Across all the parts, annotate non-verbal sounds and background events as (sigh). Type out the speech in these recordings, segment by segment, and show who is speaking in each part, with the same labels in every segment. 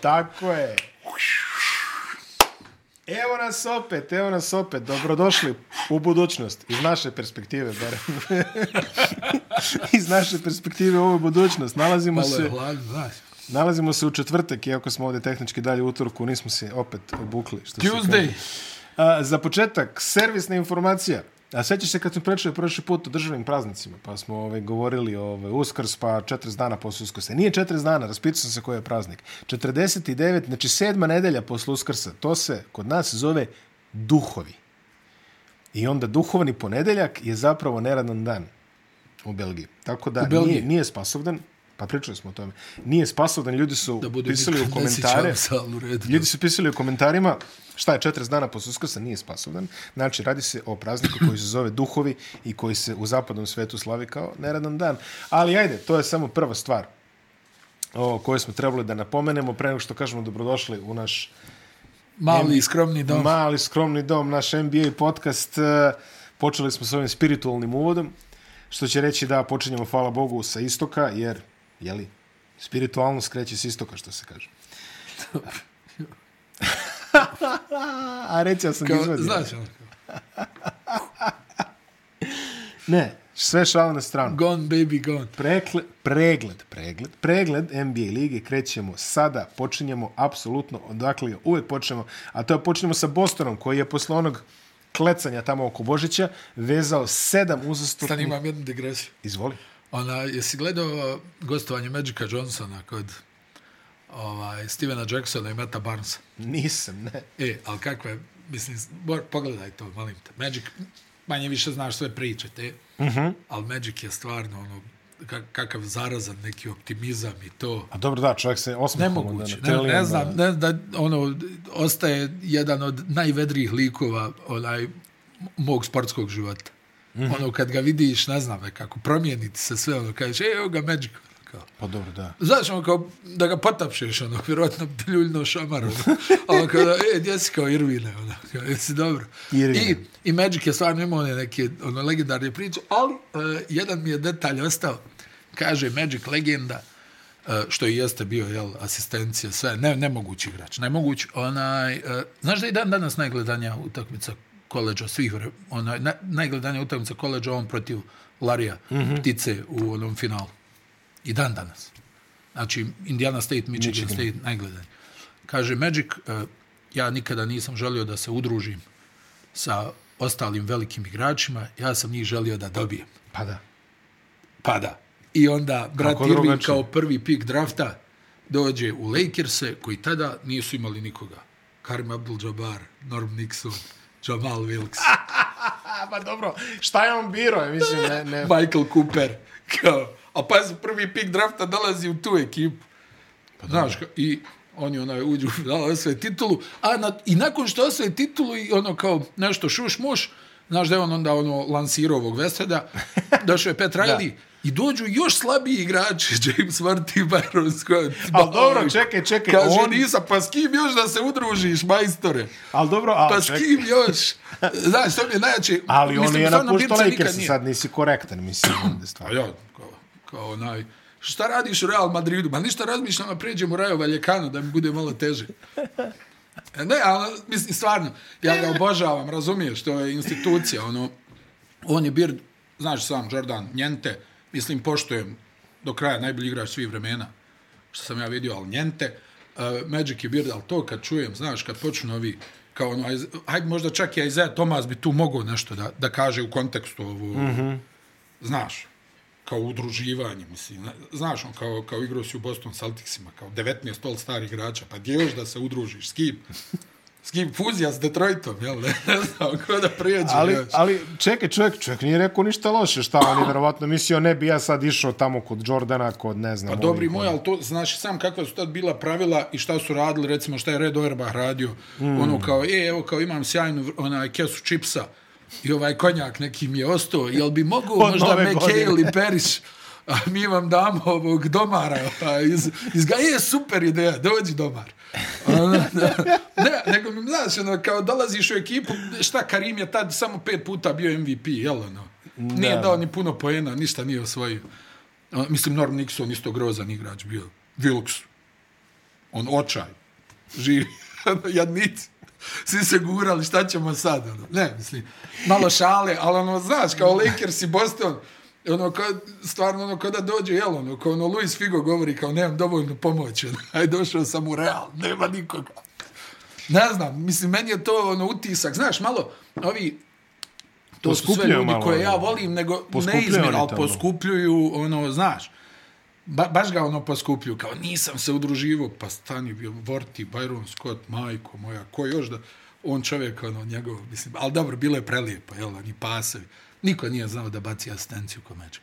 Speaker 1: Tako je. Evo nas opet, evo nas opet. Dobrodošli u budućnost. Iz naše perspektive, barem. (laughs) Iz naše perspektive ovo je budućnost. Nalazimo
Speaker 2: Malo je
Speaker 1: se...
Speaker 2: hladno, znaš.
Speaker 1: Nalazimo se u četvrtak, iako smo ovdje tehnički dalje u utorku, nismo se opet obukli. Što se
Speaker 2: Tuesday.
Speaker 1: kaže. A, za početak, servisna informacija. A sećaš se kad smo pričali prošli put o državnim praznicima, pa smo ovaj, govorili ovaj, Uskrs, pa 40 dana posle Uskrsa. Nije 40 dana, raspitao sam se koji je praznik. 49, znači sedma nedelja posle Uskrsa. To se kod nas zove duhovi. I onda duhovni ponedeljak je zapravo neradan dan u Belgiji. Tako da
Speaker 2: Belgiji.
Speaker 1: nije, nije spasovdan, pa pričali smo o tome, nije spasovdan, ljudi su
Speaker 2: Da bude
Speaker 1: pisali u
Speaker 2: Nikola Lesić,
Speaker 1: komentare,
Speaker 2: ali sam u redu.
Speaker 1: ljudi su pisali u komentarima šta je 40 dana posle uskrsa, nije spasovdan. Znači, radi se o prazniku koji se zove duhovi i koji se u zapadnom svetu slavi kao neradan dan. Ali ajde, to je samo prva stvar o kojoj smo trebali da napomenemo pre nego što kažemo dobrodošli u naš
Speaker 2: Mali i skromni dom.
Speaker 1: Mali skromni dom, naš NBA podcast. E, Počeli smo s ovim spiritualnim uvodom, što će reći da počinjemo, hvala Bogu, sa istoka, jer, jeli, spiritualno skreće s istoka, što se kaže. (laughs) A reći sam Kao,
Speaker 2: Kao,
Speaker 1: izvadio.
Speaker 2: znaš, ono, kao,
Speaker 1: Ne, sve šalu na stranu.
Speaker 2: gone baby gone.
Speaker 1: Prekle, pregled, pregled, pregled NBA lige krećemo sada, počinjemo apsolutno odakle je uvek počnemo, a to je počinjemo sa Bostonom koji je posle onog klecanja tamo oko Božića vezao sedam
Speaker 2: Stan
Speaker 1: uzastopnih...
Speaker 2: imam jednu digresiju.
Speaker 1: Izvoli.
Speaker 2: Ona, jesi gledao gostovanje Magica Johnsona kod ovaj, Stevena Jacksona i Meta Barnesa?
Speaker 1: Nisam, ne.
Speaker 2: E, ali kako je, mislim, mor, pogledaj to, molim te. Magic, manje više znaš sve priče, te. Uh
Speaker 1: Mhm.
Speaker 2: -huh. Ali Magic je stvarno, ono, kak, kakav zarazan neki optimizam i to.
Speaker 1: A dobro da, čovjek se osmahom onda
Speaker 2: Nemoguće.
Speaker 1: na
Speaker 2: Ne,
Speaker 1: telijama.
Speaker 2: ne znam, ne, da, ono, ostaje jedan od najvedrijih likova onaj, mog sportskog života. Mm
Speaker 1: Mhm.
Speaker 2: -hmm. Ono, kad ga vidiš, ne znam, kako promijeniti se sve, ono, kažeš, e, evo ga Magic. Kao,
Speaker 1: Pa dobro, da.
Speaker 2: Znaš, ono kao, da ga potapšeš, ono, vjerojatno pljuljno šamar, ono, ono kao, da, e, gdje si kao Irvine, ono, kao, jesi dobro.
Speaker 1: Irvine.
Speaker 2: I, I Magic je stvarno imao one neke, ono, legendarne priče, ali uh, jedan mi je detalj ostao, kaže Magic legenda, uh, što i jeste bio, jel, asistencija, sve, ne, nemogući igrač, nemogući, onaj, uh, znaš da i dan danas najgledanja utakmica koleđa svih, vre- onaj, na, najgledanja utakmica koleđa on protiv Larija, mm -hmm. ptice u onom finalu. I dan danas. Znači, Indiana State, Michigan, Michigan. State, najgledan. Kaže, Magic, eh, ja nikada nisam želio da se udružim sa ostalim velikim igračima, ja sam njih želio da dobijem.
Speaker 1: Pa da.
Speaker 2: Pa da. I onda brat
Speaker 1: Kako
Speaker 2: Irving
Speaker 1: drugačije?
Speaker 2: kao prvi pik drafta dođe u Lakers-e, koji tada nisu imali nikoga. Karim Abdul-Jabbar, Norm Nixon, Jamal Wilkes,
Speaker 1: A, pa dobro, šta je on biro, mislim, ne, ne.
Speaker 2: Michael Cooper. Kao, a pa prvi pik drafta dolazi u tu ekipu. Pa Znaš, ka, i oni onaj uđu, da, osvoje titulu, a na, i nakon što osvoje titulu i ono kao nešto šuš muš, znaš da je on onda ono lansirao ovog
Speaker 1: (laughs)
Speaker 2: Vestada, došao je Pet Riley, i dođu još slabiji igrači, (laughs) James Worthy i Byron Scott. ono,
Speaker 1: Ali dobro, čekaj, čekaj,
Speaker 2: Kaže,
Speaker 1: on-
Speaker 2: on... nisam, pa s kim još da se udružiš, majstore?
Speaker 1: Ali dobro, ali
Speaker 2: Pa s
Speaker 1: čekaj.
Speaker 2: kim
Speaker 1: (laughs)
Speaker 2: još? Znaš, to mi je najjače.
Speaker 1: Ali on
Speaker 2: Mislim,
Speaker 1: je
Speaker 2: stvarno,
Speaker 1: napuštao
Speaker 2: Birca nikad
Speaker 1: Lakers,
Speaker 2: nije-
Speaker 1: sad nisi korektan, mislim, onda
Speaker 2: A
Speaker 1: stvarno.
Speaker 2: ja, kao, kao onaj, šta radiš u Real Madridu? Ma ništa razmišljam, a pređem u Rajo Valjekano da mi bude malo teže. E, Ne, ali, mislim, stvarno, ja ga obožavam, razumiješ, to je institucija, ono, on je bir, znaš sam, Jordan, njente, mislim, poštojem do kraja najbolji igrač svih vremena, što sam ja vidio, ali njente, uh, Magic je bir, ali to kad čujem, znaš, kad počnu ovi, kao ono, Aiz- hajde možda čak i Isaiah Thomas bi tu mogao nešto da, da kaže u kontekstu ovo, mm -hmm. znaš, kao udruživanje, mislim, ne- znaš, on kao, kao igrao si u Boston Celticsima, kao 19 all star igrača, pa gdje još da se udružiš, s kim? S kim? Fuzija s Detroitom, jel? Ne, (laughs) ne znam, ko da prijeđe
Speaker 1: Ali,
Speaker 2: još.
Speaker 1: ali čekaj, čovjek, čovjek nije rekao ništa loše, šta on je verovatno mislio, ne bi ja sad išao tamo kod Jordana, kod ne znam.
Speaker 2: Pa dobri
Speaker 1: ovih,
Speaker 2: moj, ali to znaš i sam kakva su tad bila pravila i šta su radili, recimo šta je Red Auerbach radio. Mm. Ono kao, e, evo kao imam sjajnu vr- onaj, kesu čipsa i ovaj konjak neki mi je ostao, jel bi mogu
Speaker 1: Od
Speaker 2: možda
Speaker 1: nove godine.
Speaker 2: McHale ili Periš, a mi vam damo ovog domara ovaj, iz, iz ga, je super ideja, dođi domar. Ono, da, ne, nego mi znaš, ono, kao dolaziš u ekipu, šta Karim je tad samo pet puta bio MVP, jel ono? Nije dao ni puno poena, ništa nije osvojio. A, Mislim, Norm Nixon isto grozan igrač bio. Wilkes. On očaj. Živi. (laughs) Ono, Jadnici. Svi se gurali, šta ćemo sad? Ono. Ne, mislim, malo šale, ali ono, znaš, kao Lakers i Boston, ono, kao, stvarno, ono, kada dođe, jel, ono, kao ono, Luis Figo govori, kao, nemam dovoljno pomoći, ono, (laughs) aj, došao sam u Real, nema nikoga. Ne znam, mislim, meni je to, ono, utisak, znaš, malo, ovi, to su sve
Speaker 1: Poskupljuju
Speaker 2: ljudi
Speaker 1: malo,
Speaker 2: koje ja
Speaker 1: ono.
Speaker 2: volim, nego
Speaker 1: Poskupljuju
Speaker 2: neizmjer,
Speaker 1: oni
Speaker 2: ali
Speaker 1: tamo.
Speaker 2: poskupljuju, ono, znaš, ba, baš ga ono poskupljuju, kao nisam se udruživo, pa stani, bio Vorti, Byron Scott, majko moja, ko još da, on čovjek, ono, njegov, mislim, ali dobro, bilo je prelijepo, jel, oni pasevi. Niko nije znao da baci asistenciju ko mečka.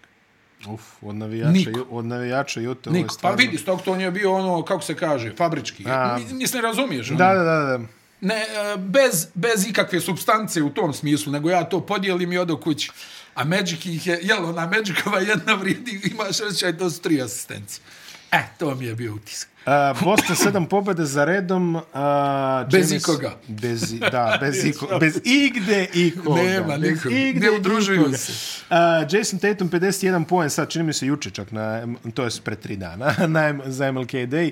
Speaker 1: Uf, od navijača,
Speaker 2: Niko.
Speaker 1: Ju- od navijača Jute, ovo je
Speaker 2: Niko, pa
Speaker 1: stvarno...
Speaker 2: vidi, Stockton je bio ono, kako se kaže, fabrički.
Speaker 1: A.
Speaker 2: A, Nis ne razumiješ. Ono.
Speaker 1: Da, da, da, da.
Speaker 2: Ne, e, bez, bez ikakve substance u tom smislu, nego ja to podijelim i odo kući. A Magic ih je, jel, ona Magicova jedna vrijedi, imaš rećaj, to su tri asistencije. E, to mi je bio utisak.
Speaker 1: A, E, Boston sedam pobjede za redom. A,
Speaker 2: Bez ikoga.
Speaker 1: Bez, i- da,
Speaker 2: (laughs)
Speaker 1: bez, iko, bez igde ikoga.
Speaker 2: Nema
Speaker 1: bez
Speaker 2: nikog.
Speaker 1: igde
Speaker 2: Ne udružuju
Speaker 1: ikoga.
Speaker 2: se.
Speaker 1: A, Jason Tatum 51 poen, sad čini mi se juče čak, na, to je pre tri dana, (laughs) na, M- za MLK Day.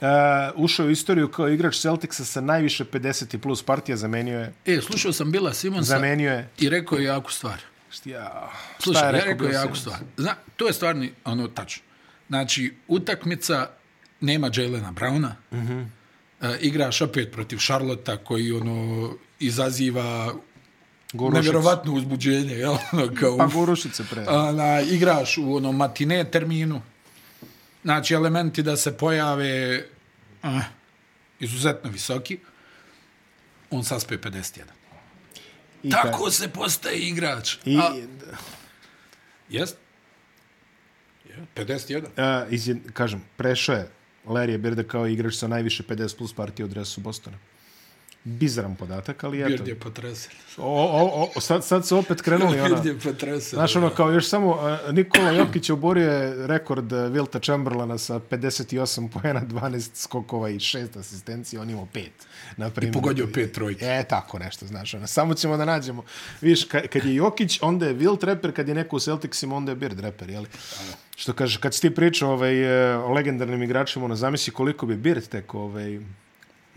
Speaker 1: Uh, ušao je u istoriju kao igrač Celticsa sa najviše 50 i plus partija, zamenio je,
Speaker 2: E, slušao sam Bila Simonsa
Speaker 1: zamenio je,
Speaker 2: i rekao je jaku stvar.
Speaker 1: ja,
Speaker 2: Slušaj, ja rekao,
Speaker 1: Bill
Speaker 2: jaku
Speaker 1: Simmons?
Speaker 2: stvar. Zna, to je stvarno ono tačno. Znači, utakmica nema Jelena Brauna. Mm
Speaker 1: Mhm.
Speaker 2: -hmm. e, igraš opet protiv Charlotta koji ono izaziva
Speaker 1: Gorušic.
Speaker 2: nevjerovatno uzbuđenje, jel? (laughs) Ono, kao,
Speaker 1: Pa
Speaker 2: uf.
Speaker 1: Gorušice pre.
Speaker 2: Ona, igraš u onom matine terminu. Znači, elementi da se pojave eh, izuzetno visoki. On saspe 51.
Speaker 1: I taj-
Speaker 2: Tako se postaje igrač.
Speaker 1: pa- I,
Speaker 2: A, Jest? Je, 51.
Speaker 1: A, izjed, kažem, prešao je Larry Birda kao igrač sa najviše 50 plus partije u dresu Bostona. Bizaran podatak, ali eto.
Speaker 2: Bird je potresen.
Speaker 1: O, o, o, o, sad, sad su opet krenuli ona.
Speaker 2: Bird je potresen.
Speaker 1: ono- Znaš, ono, kao još samo a, Nikola Jokić oborio je rekord a, Vilta Chamberlana sa 58 poena, 12 skokova i 6 asistencija, on imao 5. Na primjer.
Speaker 2: pogodio pet trojki.
Speaker 1: E, tako nešto, znaš, ono, samo ćemo da nađemo. Viš, ka, kad je Jokić, onda je Wilt reper, kad je neko u Celticsima, onda je Bird reper, jeli? Što kaže, kad si ti pričao ovaj, e, o legendarnim igračima, ono, zamisli koliko bi Bird tek ovaj,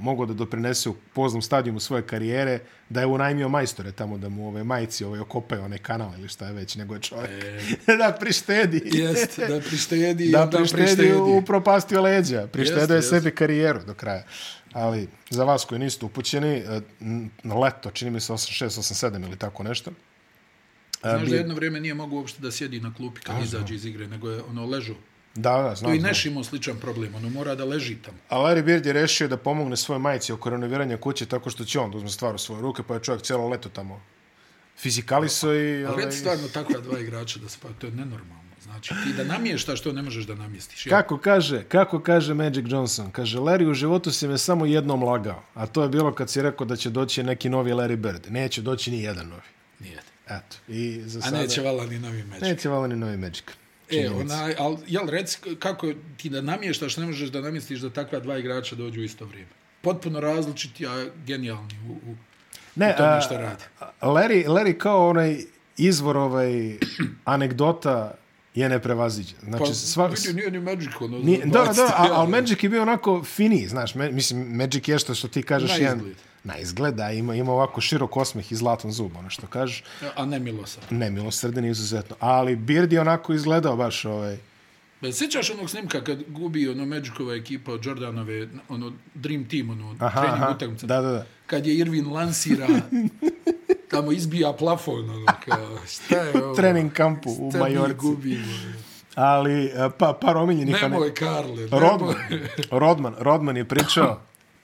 Speaker 1: mogao da doprinese u poznom stadijumu svoje karijere, da je unajmio majstore tamo da mu ove majici ovaj, okopaju onaj kanal ili šta je već, nego je čovjek. E... (laughs) da prištedi.
Speaker 2: Jest, da prištedi.
Speaker 1: da
Speaker 2: onda
Speaker 1: prištedi u propastio leđa. Prištedao je
Speaker 2: Jeste,
Speaker 1: sebi karijeru do kraja. Ali za vas koji niste upućeni, e, n- na leto, čini mi se 86, 87 ili tako nešto. e,
Speaker 2: Znaš
Speaker 1: bi-
Speaker 2: da jedno vrijeme nije mogu uopšte da sjedi na klupi kad izađe iz igre, nego je ono ležao.
Speaker 1: Da, da, znam.
Speaker 2: To i
Speaker 1: znam.
Speaker 2: Neš imao sličan problem, ono mora da leži tamo.
Speaker 1: A Larry Bird je rešio da pomogne svoje majici oko renoviranja kuće tako što će on da uzme stvar u svoje ruke, pa je čovjek cijelo leto tamo fizikaliso i...
Speaker 2: Ali
Speaker 1: ovaj,
Speaker 2: već stvarno takva dva igrača da spavaju, to je nenormalno. Znači ti da namještaš to ne možeš da namjestiš. Ja,
Speaker 1: Kako kaže, kako kaže Magic Johnson? Kaže, Larry u životu si me samo jednom lagao, a to je bilo kad si rekao da će doći neki novi Larry Bird. Neće doći ni jedan novi.
Speaker 2: nije.
Speaker 1: Eto, i za
Speaker 2: A
Speaker 1: sada...
Speaker 2: neće vala ni novi meč.
Speaker 1: Neće valjda ni novi Magic.
Speaker 2: Znači- E, onaj, al, jel, reci kako ti da namještaš, ne možeš da namjestiš da takva dva igrača dođu u isto vrijeme. Potpuno različiti, a genijalni u, u
Speaker 1: Ne,
Speaker 2: tome šta radi.
Speaker 1: a, Larry, Larry kao onaj izvor ovaj anegdota je neprevaziđen. Znači,
Speaker 2: Pa,
Speaker 1: sva,
Speaker 2: vidi, nije ni Magic, ono,
Speaker 1: Nije, da, da, da, ali
Speaker 2: ali
Speaker 1: Magic je bio onako finiji, znaš, me, mislim, Magic je što, što ti kažeš
Speaker 2: Na
Speaker 1: jedan...
Speaker 2: izgled.
Speaker 1: Na izgled, da, ima, ima ovako širok osmeh i zlatan zub, ono što kažeš.
Speaker 2: A ne Milosa.
Speaker 1: Nemilosrden je izuzetno, ali Beard je onako izgledao baš ovaj...
Speaker 2: Be, E, sjećaš onog snimka kad gubi ono Magicova ekipa od Jordanove, ono Dream Team, ono aha, trening utakmica?
Speaker 1: da, da, da.
Speaker 2: Kad je Irvin
Speaker 1: (laughs)
Speaker 2: lansira, tamo izbija plafon, ono, kao, šta je ovo?
Speaker 1: Trening kampu u
Speaker 2: Šta mi
Speaker 1: Majorci.
Speaker 2: gubimo?
Speaker 1: Ali, e, pa, par omiljenih... ane-
Speaker 2: Nemoj, Karle,
Speaker 1: Rodman,
Speaker 2: nemoj.
Speaker 1: Rodman, Rodman je pričao,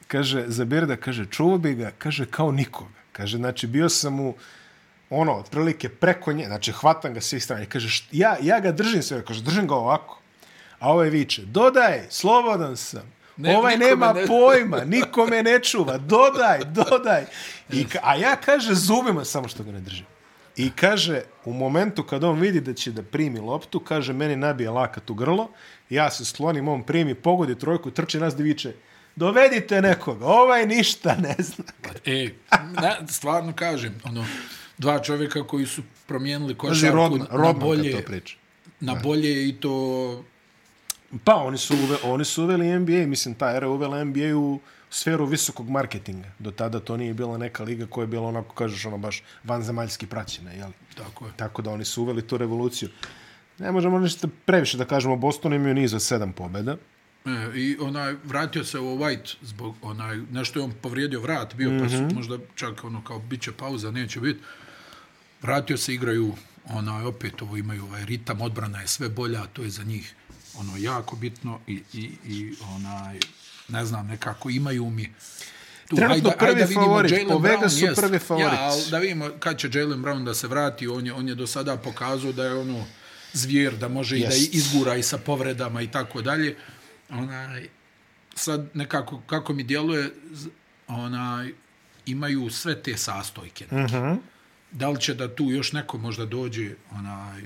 Speaker 1: kaže, za Birda, kaže, čuvao bi ga, kaže, kao nikoga. Kaže, znači, bio sam mu, ono, otprilike preko nje, znači, hvatam ga s svih strana. I Kaže, št, ja, ja ga držim sve, kaže, držim ga ovako. A ovaj viče, dodaj, slobodan sam. Ne,
Speaker 2: Ne,
Speaker 1: ovaj
Speaker 2: nikome
Speaker 1: nema
Speaker 2: ne-
Speaker 1: pojma, nikome ne čuva, dodaj, dodaj. I, ka- a ja, kaže, zubima samo što ga ne držim. I kaže, u momentu kad on vidi da će da primi loptu, kaže, meni nabije lakat u grlo, ja se sklonim, on primi, pogodi trojku, trči nas da viče, dovedite nekoga, ovaj ništa ne zna.
Speaker 2: E, na, stvarno kažem, ono, dva čovjeka koji su promijenili
Speaker 1: Kaže,
Speaker 2: košarku
Speaker 1: Rodman,
Speaker 2: na
Speaker 1: Rodman kad
Speaker 2: bolje,
Speaker 1: to priča.
Speaker 2: na bolje i to
Speaker 1: Pa oni su, uve, oni su uveli NBA, mislim ta era je uvela NBA u sferu visokog marketinga. Do tada to nije bila neka liga koja je bila onako, kažeš, ono baš vanzemaljski praćena, jeli?
Speaker 2: Tako je.
Speaker 1: Tako da oni su uveli tu revoluciju. Ne možemo ništa previše da kažemo, Boston imaju niz od sedam pobjeda.
Speaker 2: E, I onaj, vratio se u White zbog onaj, nešto je on povrijedio vrat, bio mm -hmm. pa su
Speaker 1: Mhm.
Speaker 2: možda čak ono kao bit će pauza, neće biti. Vratio se, igraju onaj, opet ovo imaju ovaj ritam, odbrana je sve bolja, to je za njih ono jako bitno i, i, i onaj, ne znam, nekako imaju mi tu,
Speaker 1: Trenutno prvi
Speaker 2: da vidimo
Speaker 1: favorit,
Speaker 2: Jalen
Speaker 1: po
Speaker 2: Brown,
Speaker 1: Vegasu
Speaker 2: jest.
Speaker 1: prvi favorit.
Speaker 2: Ja, ali da vidimo kad će Jalen Brown da se vrati, on je, on je do sada pokazao da je ono zvijer, da može yes. i
Speaker 1: Jest.
Speaker 2: da izgura i sa povredama i tako dalje. Onaj, sad nekako, kako mi djeluje, z- onaj, imaju sve te sastojke. Mm
Speaker 1: Mhm.
Speaker 2: -hmm. Da li će da tu još neko možda dođe, onaj,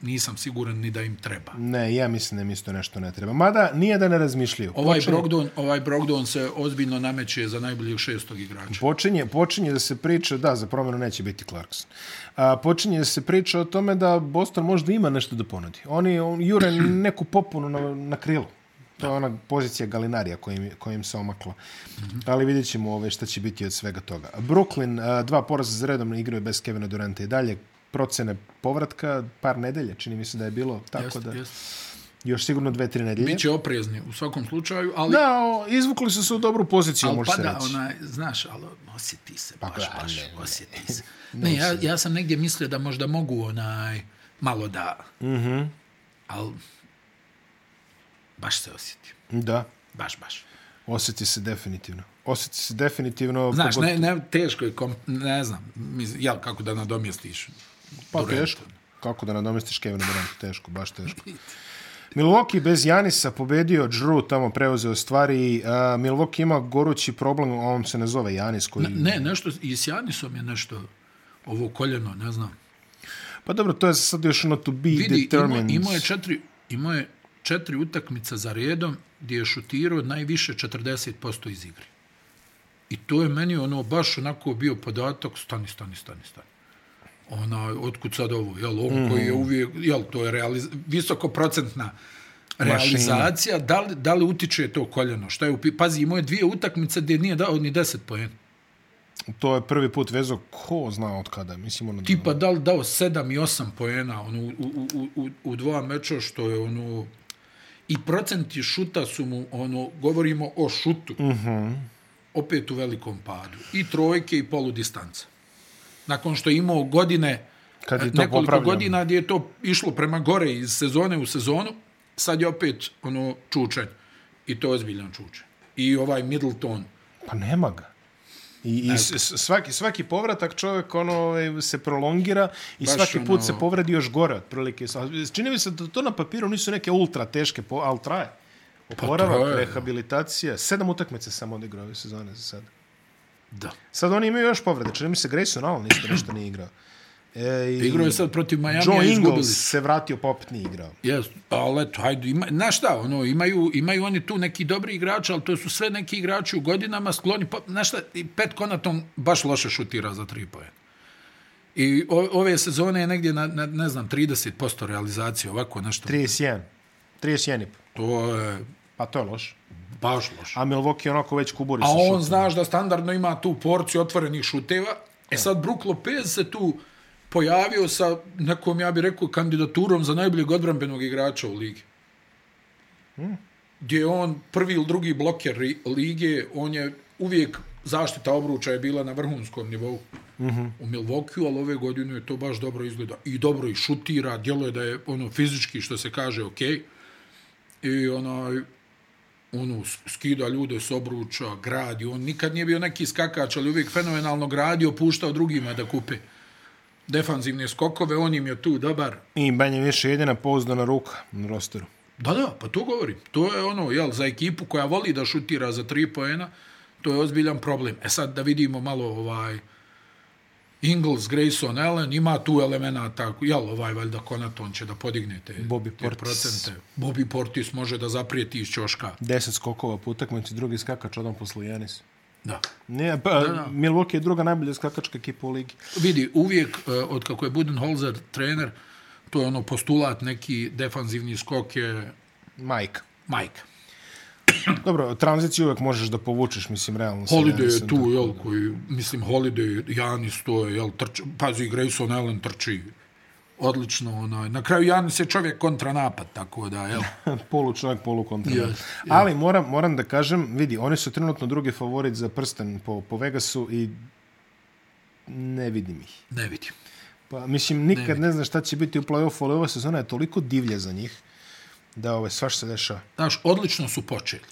Speaker 2: nisam siguran ni da im treba.
Speaker 1: Ne, ja mislim da im isto nešto ne treba. Mada nije da ne razmišljaju.
Speaker 2: Ovaj Brogdon, ovaj Brogdon se ozbiljno nameće za najboljeg šestog igrača.
Speaker 1: Počinje, počinje da se priča, da, za promjenu neće biti Clarkson. A, počinje da se priča o tome da Boston možda ima nešto da ponudi. Oni on, jure neku popunu na, na krilu. To je ona pozicija Galinarija kojim, kojim se omakla. Ali vidjet ćemo ove, šta će biti od svega toga. Brooklyn, a, dva poraza za redom igraju bez Kevina Duranta i dalje. Procene povratka, par nedelja, čini mi se da je bilo. Tako
Speaker 2: Jeste,
Speaker 1: da,
Speaker 2: jeste.
Speaker 1: još sigurno dve, tri nedelje.
Speaker 2: Biće oprezni u svakom slučaju, ali,
Speaker 1: Da, o, izvukli su se u dobru poziciju,
Speaker 2: ali
Speaker 1: može se
Speaker 2: pada
Speaker 1: reći.
Speaker 2: onaj, znaš, ali osjeti se, baš,
Speaker 1: gle,
Speaker 2: baš,
Speaker 1: ne, ne.
Speaker 2: osjeti se. Ne, ja, ja sam negdje mislio da možda mogu onaj, malo da, mm -hmm.
Speaker 1: Mhm.
Speaker 2: ali baš se osjeti,
Speaker 1: Da,
Speaker 2: baš, baš.
Speaker 1: osjeti se definitivno. Osjeti se definitivno...
Speaker 2: Znaš,
Speaker 1: pogod-
Speaker 2: ne, ne, teško je, kom, ne znam, mis- jel, kako da nadomjestiš.
Speaker 1: Pa
Speaker 2: Duranta.
Speaker 1: teško. Kako da nadomestiš Kevina Duranta? Teško, baš teško. Milwaukee bez Janisa pobedio, Drew tamo preuzeo stvari. Uh, Milwaukee ima gorući problem, on se ne zove Janis koji...
Speaker 2: Ne, nešto, i s Janisom je nešto, ovo koljeno, ne znam.
Speaker 1: Pa dobro, to je sad još ono to be
Speaker 2: Vidi, imao
Speaker 1: determined.
Speaker 2: ima je četiri, imao je četiri utakmica za redom gdje je šutirao najviše 40% iz igre. I to je meni ono baš onako bio podatak, stani, stani, stani, stani. Ona, otkud sad ovo, jel, on mm. koji je uvijek, jel, to je realiz, visokoprocentna realizacija, da li, da li utiče to koljeno? Šta je, upi- pazi, imao je dvije utakmice gdje nije dao ni 10 poena.
Speaker 1: To je prvi put vezo, ko zna od kada. Mislim, ono,
Speaker 2: tipa da li dao 7 i 8 poena ono, u, u, u, u, u dva meča što je ono i procenti šuta su mu ono govorimo o šutu mm -hmm.
Speaker 1: Mhm.
Speaker 2: opet u velikom padu i trojke i polu distanca nakon što je imao godine
Speaker 1: Kad je to
Speaker 2: nekoliko
Speaker 1: popravljeno.
Speaker 2: godina gdje je to išlo prema gore iz sezone u sezonu sad je opet ono čučen i to je ozbiljan čučen i ovaj Middleton
Speaker 1: Pa nema ga. I, i s- s- svaki, svaki povratak čovjek ono, ovaj, se prolongira i
Speaker 2: Baš
Speaker 1: svaki put
Speaker 2: ono-
Speaker 1: se povredi još gore otprilike. Sa- Čini mi se da to na papiru nisu neke ultra teške, po, ali traje. Oporavak,
Speaker 2: Pa traje, da.
Speaker 1: rehabilitacija. Sedam utakmice samo odigrao ove sezone za sada.
Speaker 2: da
Speaker 1: Sad oni imaju još povrede. Čini mi se Grayson Allen isto nešto nije igrao. E, i
Speaker 2: igrao je sad protiv Majamija
Speaker 1: Joe
Speaker 2: i izgubili
Speaker 1: Ingles
Speaker 2: su.
Speaker 1: se vratio pa opet nije igrao.
Speaker 2: Jes, pa, ali eto, hajde, ima, znaš šta, ono, imaju, imaju oni tu neki dobri igrači, ali to su sve neki igrači u godinama skloni, pa, znaš šta, i Pet Konaton baš loše šutira za tri pojene. I o, ove sezone je negdje na, na, ne znam, 30% realizacije, ovako nešto.
Speaker 1: 31. 31 i po.
Speaker 2: To je
Speaker 1: Pa to je loš.
Speaker 2: baš loše.
Speaker 1: A Milwaukee onako već kuburi
Speaker 2: A
Speaker 1: sa
Speaker 2: on,
Speaker 1: šutom.
Speaker 2: znaš da standardno ima tu porciju otvorenih šuteva. E sad, Brook Lopez se tu pojavio sa nekom, ja bih rekao, kandidaturom za najboljeg odbranbenog igrača u ligi. Gdje je on prvi ili drugi bloker ri- lige, on je uvijek, zaštita obruča je bila na vrhunskom nivou u Milwaukee, ali ove godine je to baš dobro izgleda. I dobro i šutira, djelo je da je ono fizički, što se kaže, okej. I onaj, ono, s- skida ljude s obruča, gradi. On nikad nije bio neki skakač, ali uvijek fenomenalno gradio, puštao drugima da kupe defanzivne skokove, on im je tu dobar.
Speaker 1: I Banja više jedina pouzdana ruka na rosteru.
Speaker 2: Da, da, pa to govorim. To je ono, jel, za ekipu koja voli da šutira za tri poena, to je ozbiljan problem. E sad da vidimo malo ovaj Ingles, Grayson, Allen, ima tu elemenata, jel, ovaj valjda Konaton će da podigne te,
Speaker 1: Bobby
Speaker 2: te
Speaker 1: Portis.
Speaker 2: procente. Bobby Portis može da zaprijeti iz ćoška.
Speaker 1: 10 skokova po utakmici, drugi skakač odam posle Janis.
Speaker 2: Da.
Speaker 1: Ne, pa, da, da. Milwaukee je druga najbolja skakačka ekipa u ligi.
Speaker 2: vidi, uvijek, eh, od kako je Budenholzer trener, to je ono postulat neki defanzivni skok je
Speaker 1: majka.
Speaker 2: Majka.
Speaker 1: Dobro, tranziciju uvek možeš da povučeš, mislim, realno. se ne
Speaker 2: Holiday je
Speaker 1: mislim
Speaker 2: tu,
Speaker 1: da-
Speaker 2: jel, koji, mislim, Holiday, Janis to je, jel, trči, pazi, Grayson Allen trči odlično, onaj, na kraju Janis je čovjek kontranapad, tako da, jel,
Speaker 1: (laughs) polu čovjek, polu kontra.
Speaker 2: Jest, jest.
Speaker 1: Ali moram, moram da kažem, vidi, oni su trenutno drugi favorit za prsten po, po Vegasu i ne vidim ih.
Speaker 2: ne vidim.
Speaker 1: Pa, mislim, nikad ne, znaš šta će biti u play-offu, ali ova sezona je toliko divlja za njih da ove, svaš se dešava.
Speaker 2: Znaš, odlično su počeli.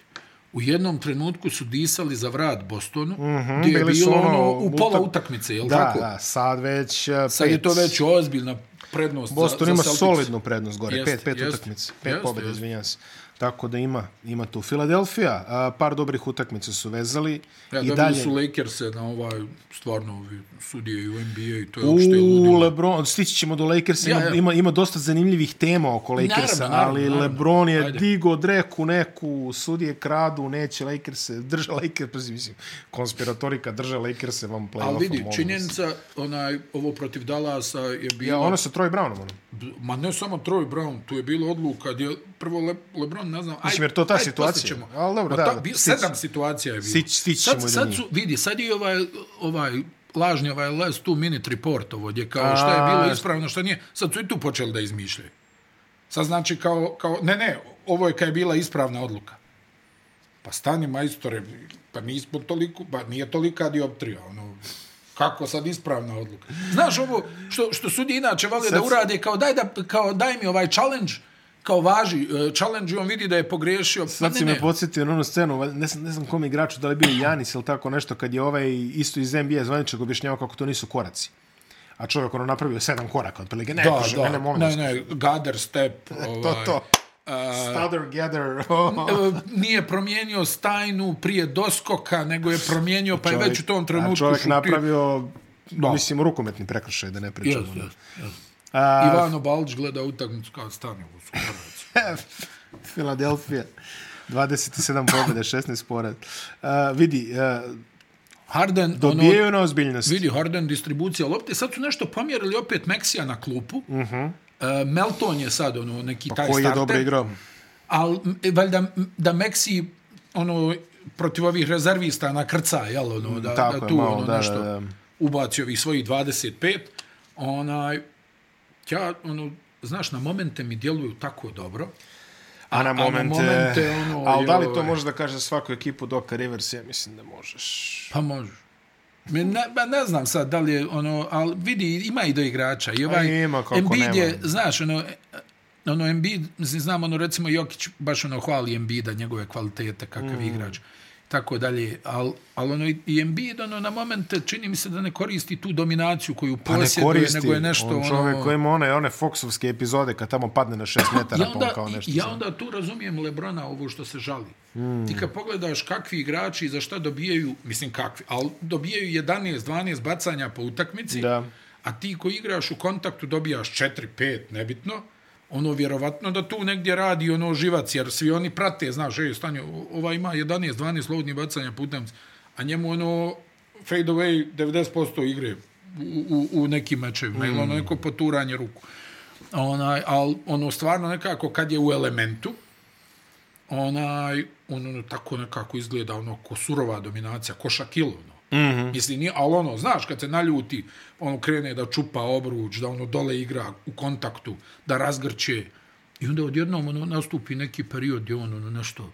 Speaker 2: U jednom trenutku su disali za vrat Bostonu, mm
Speaker 1: Mhm,
Speaker 2: -hmm, gdje je
Speaker 1: bili su
Speaker 2: bilo ono,
Speaker 1: ono,
Speaker 2: u pola
Speaker 1: utak-
Speaker 2: utakmice, jel
Speaker 1: da,
Speaker 2: tako?
Speaker 1: da, sad već uh,
Speaker 2: Sad je to već ozbiljna prednost
Speaker 1: Boston
Speaker 2: za,
Speaker 1: ima
Speaker 2: za Celtics.
Speaker 1: solidnu prednost gore,
Speaker 2: Jeste,
Speaker 1: pet, pet
Speaker 2: jeste,
Speaker 1: utakmica, pet
Speaker 2: jeste,
Speaker 1: pobjeda,
Speaker 2: jeste.
Speaker 1: izvinjam se. Tako da ima, ima tu. Filadelfija, a, par dobrih utakmica su vezali
Speaker 2: Ja,
Speaker 1: i
Speaker 2: dobili
Speaker 1: dalje...
Speaker 2: su Lakers-e na ovaj, stvarno, ovi sudije i u NBA i to je uopšte
Speaker 1: U,
Speaker 2: ludilo.
Speaker 1: Lebron, stići ćemo do Lakersa,
Speaker 2: Ja,
Speaker 1: ima,
Speaker 2: ja.
Speaker 1: ima, ima dosta zanimljivih tema oko Lakersa,
Speaker 2: Naravno, naravno,
Speaker 1: ali
Speaker 2: naravno.
Speaker 1: Lebron je
Speaker 2: Ajde.
Speaker 1: digo dreku neku, sudije kradu, neće Lakerse, (laughs) drža Lakers, mislim, konspiratorika drža Lakerse vam play-offa.
Speaker 2: Ali vidi,
Speaker 1: molim vas.
Speaker 2: činjenica, onaj, ovo protiv Dallasa je bilo...
Speaker 1: Ja, ono sa Troy Brownom, ono.
Speaker 2: Ma ne samo Troy Brown, tu je bilo odluka gdje prvo Le, LeBron, ne znam, aj,
Speaker 1: Mislim, jer to ta
Speaker 2: aj,
Speaker 1: situacija.
Speaker 2: posle ćemo.
Speaker 1: Ali dobro,
Speaker 2: Ma
Speaker 1: da,
Speaker 2: ta-
Speaker 1: da,
Speaker 2: bi-
Speaker 1: stić-
Speaker 2: sedam situacija je bilo.
Speaker 1: stić- stić ćemo i do
Speaker 2: sad, sad
Speaker 1: njih.
Speaker 2: su, vidi, sad je ovaj, ovaj lažni ovaj last two minute report ovo, gdje kao šta je
Speaker 1: A,
Speaker 2: bilo ispravno, šta nije. Sad su i tu počeli da izmišljaju. Sad znači kao, kao ne, ne, ovo je kad je bila ispravna odluka. Pa stani majstore, pa nismo toliko, pa nije tolika dioptrija, ono, kako sad ispravna odluka. Znaš ovo, što, što sudi inače vole da urade, kao daj, da, kao daj mi ovaj challenge, kao važi e, challenge i on vidi da je pogrešio. Pa
Speaker 1: Sad
Speaker 2: ne,
Speaker 1: si me
Speaker 2: ne.
Speaker 1: podsjetio na onu scenu, valj- ne znam, ne znam kom igraču, da li je bio Janis ili tako nešto, kad je ovaj isto iz NBA zvaničak objašnjavao kako to nisu koraci. A čovjek ono napravio sedam koraka, otprilike, ne, da,
Speaker 2: Da,
Speaker 1: E, kaže, da,
Speaker 2: da,
Speaker 1: mene molim.
Speaker 2: ne,
Speaker 1: vas.
Speaker 2: ne, gather step.
Speaker 1: (laughs)
Speaker 2: Ovaj,
Speaker 1: to, to. Stutter, gather. (laughs)
Speaker 2: e, nije promijenio stajnu prije doskoka, nego je promijenio, pa je
Speaker 1: Čovjek-
Speaker 2: već u tom
Speaker 1: a
Speaker 2: trenutku
Speaker 1: Čovjek
Speaker 2: šutio.
Speaker 1: napravio,
Speaker 2: Da.
Speaker 1: mislim, rukometni prekršaj, da ne pričamo. ono.
Speaker 2: Jest, jest, jest.
Speaker 1: A,
Speaker 2: Ivano Balđ gleda utakmicu kao stani, ovo su koraci.
Speaker 1: Filadelfija. 27 pobjede, 16 pored. Uh, vidi, uh,
Speaker 2: Harden, ono,
Speaker 1: dobijaju na ozbiljnosti.
Speaker 2: Vidi, Harden distribucija lopte. Sad su nešto pomjerili opet Meksija na klupu. Uh -huh. e, Melton je sad ono, neki pa taj
Speaker 1: Mhm. Koji je
Speaker 2: starter.
Speaker 1: dobro igrao.
Speaker 2: Ali valjda m, da Meksi ono, protiv ovih rezervista nakrca, jel, ono, da,
Speaker 1: Mm, tako
Speaker 2: da
Speaker 1: je,
Speaker 2: tu
Speaker 1: malo,
Speaker 2: ono,
Speaker 1: da,
Speaker 2: nešto
Speaker 1: da, da.
Speaker 2: ubaci ovih svojih 25. Onaj, ja, ono, znaš, na momente mi djeluju tako dobro.
Speaker 1: A na
Speaker 2: a na
Speaker 1: momente...
Speaker 2: momente, ono,
Speaker 1: ali da li to
Speaker 2: joj.
Speaker 1: može da kaže za svaku ekipu Doka Rivers? Ja mislim da možeš.
Speaker 2: Pa može. Mi ne, ba ne znam sad da li je ono, ali vidi, ima i do igrača. I ovaj,
Speaker 1: A ima, kako
Speaker 2: Embiid
Speaker 1: nema.
Speaker 2: je, znaš, ono, e, ono Embiid, mislim, znam, ono, recimo Jokić baš ono hvali Embiida, njegove kvalitete, kakav mm. igrač, tako dalje. Ali al, ono, i Embiid, ono, na momente čini mi se da ne koristi tu dominaciju koju
Speaker 1: Pa ne
Speaker 2: posjeduje,
Speaker 1: koristi.
Speaker 2: nego je nešto,
Speaker 1: on čovjek
Speaker 2: ono...
Speaker 1: koji ima one, one Foxovske epizode kad tamo padne na
Speaker 2: (laughs)
Speaker 1: 6 metara,
Speaker 2: Ja
Speaker 1: pa on
Speaker 2: onda,
Speaker 1: kao nešto. Hmm.
Speaker 2: ja onda tu razumijem Lebrona ovo što se žali. Mm. Ti kad pogledaš kakvi igrači i za šta dobijaju, mislim kakvi, ali dobijaju 11-12 bacanja po utakmici,
Speaker 1: Da.
Speaker 2: a ti koji igraš u kontaktu dobijaš 4-5, nebitno, ono vjerovatno da tu negdje radi ono živac, jer svi oni prate, znaš, ej, stanje, ova ima 11-12 slobodnih bacanja po utakmici, a njemu ono fade away 90% igre u, u, u nekim mečevima, mm. ili ono neko poturanje ruku onaj, al, ono, stvarno nekako kad je u elementu, onaj, on, ono, tako nekako izgleda, ono, ko surova dominacija, ko Shaquille, ono. Mm
Speaker 1: Mhm.
Speaker 2: -hmm. Mislim, nije, ali ono, znaš, kad se naljuti, ono, krene da čupa obruč, da ono dole igra u kontaktu, da razgrče, i onda odjednom, ono, nastupi neki period gdje on, ono, nešto,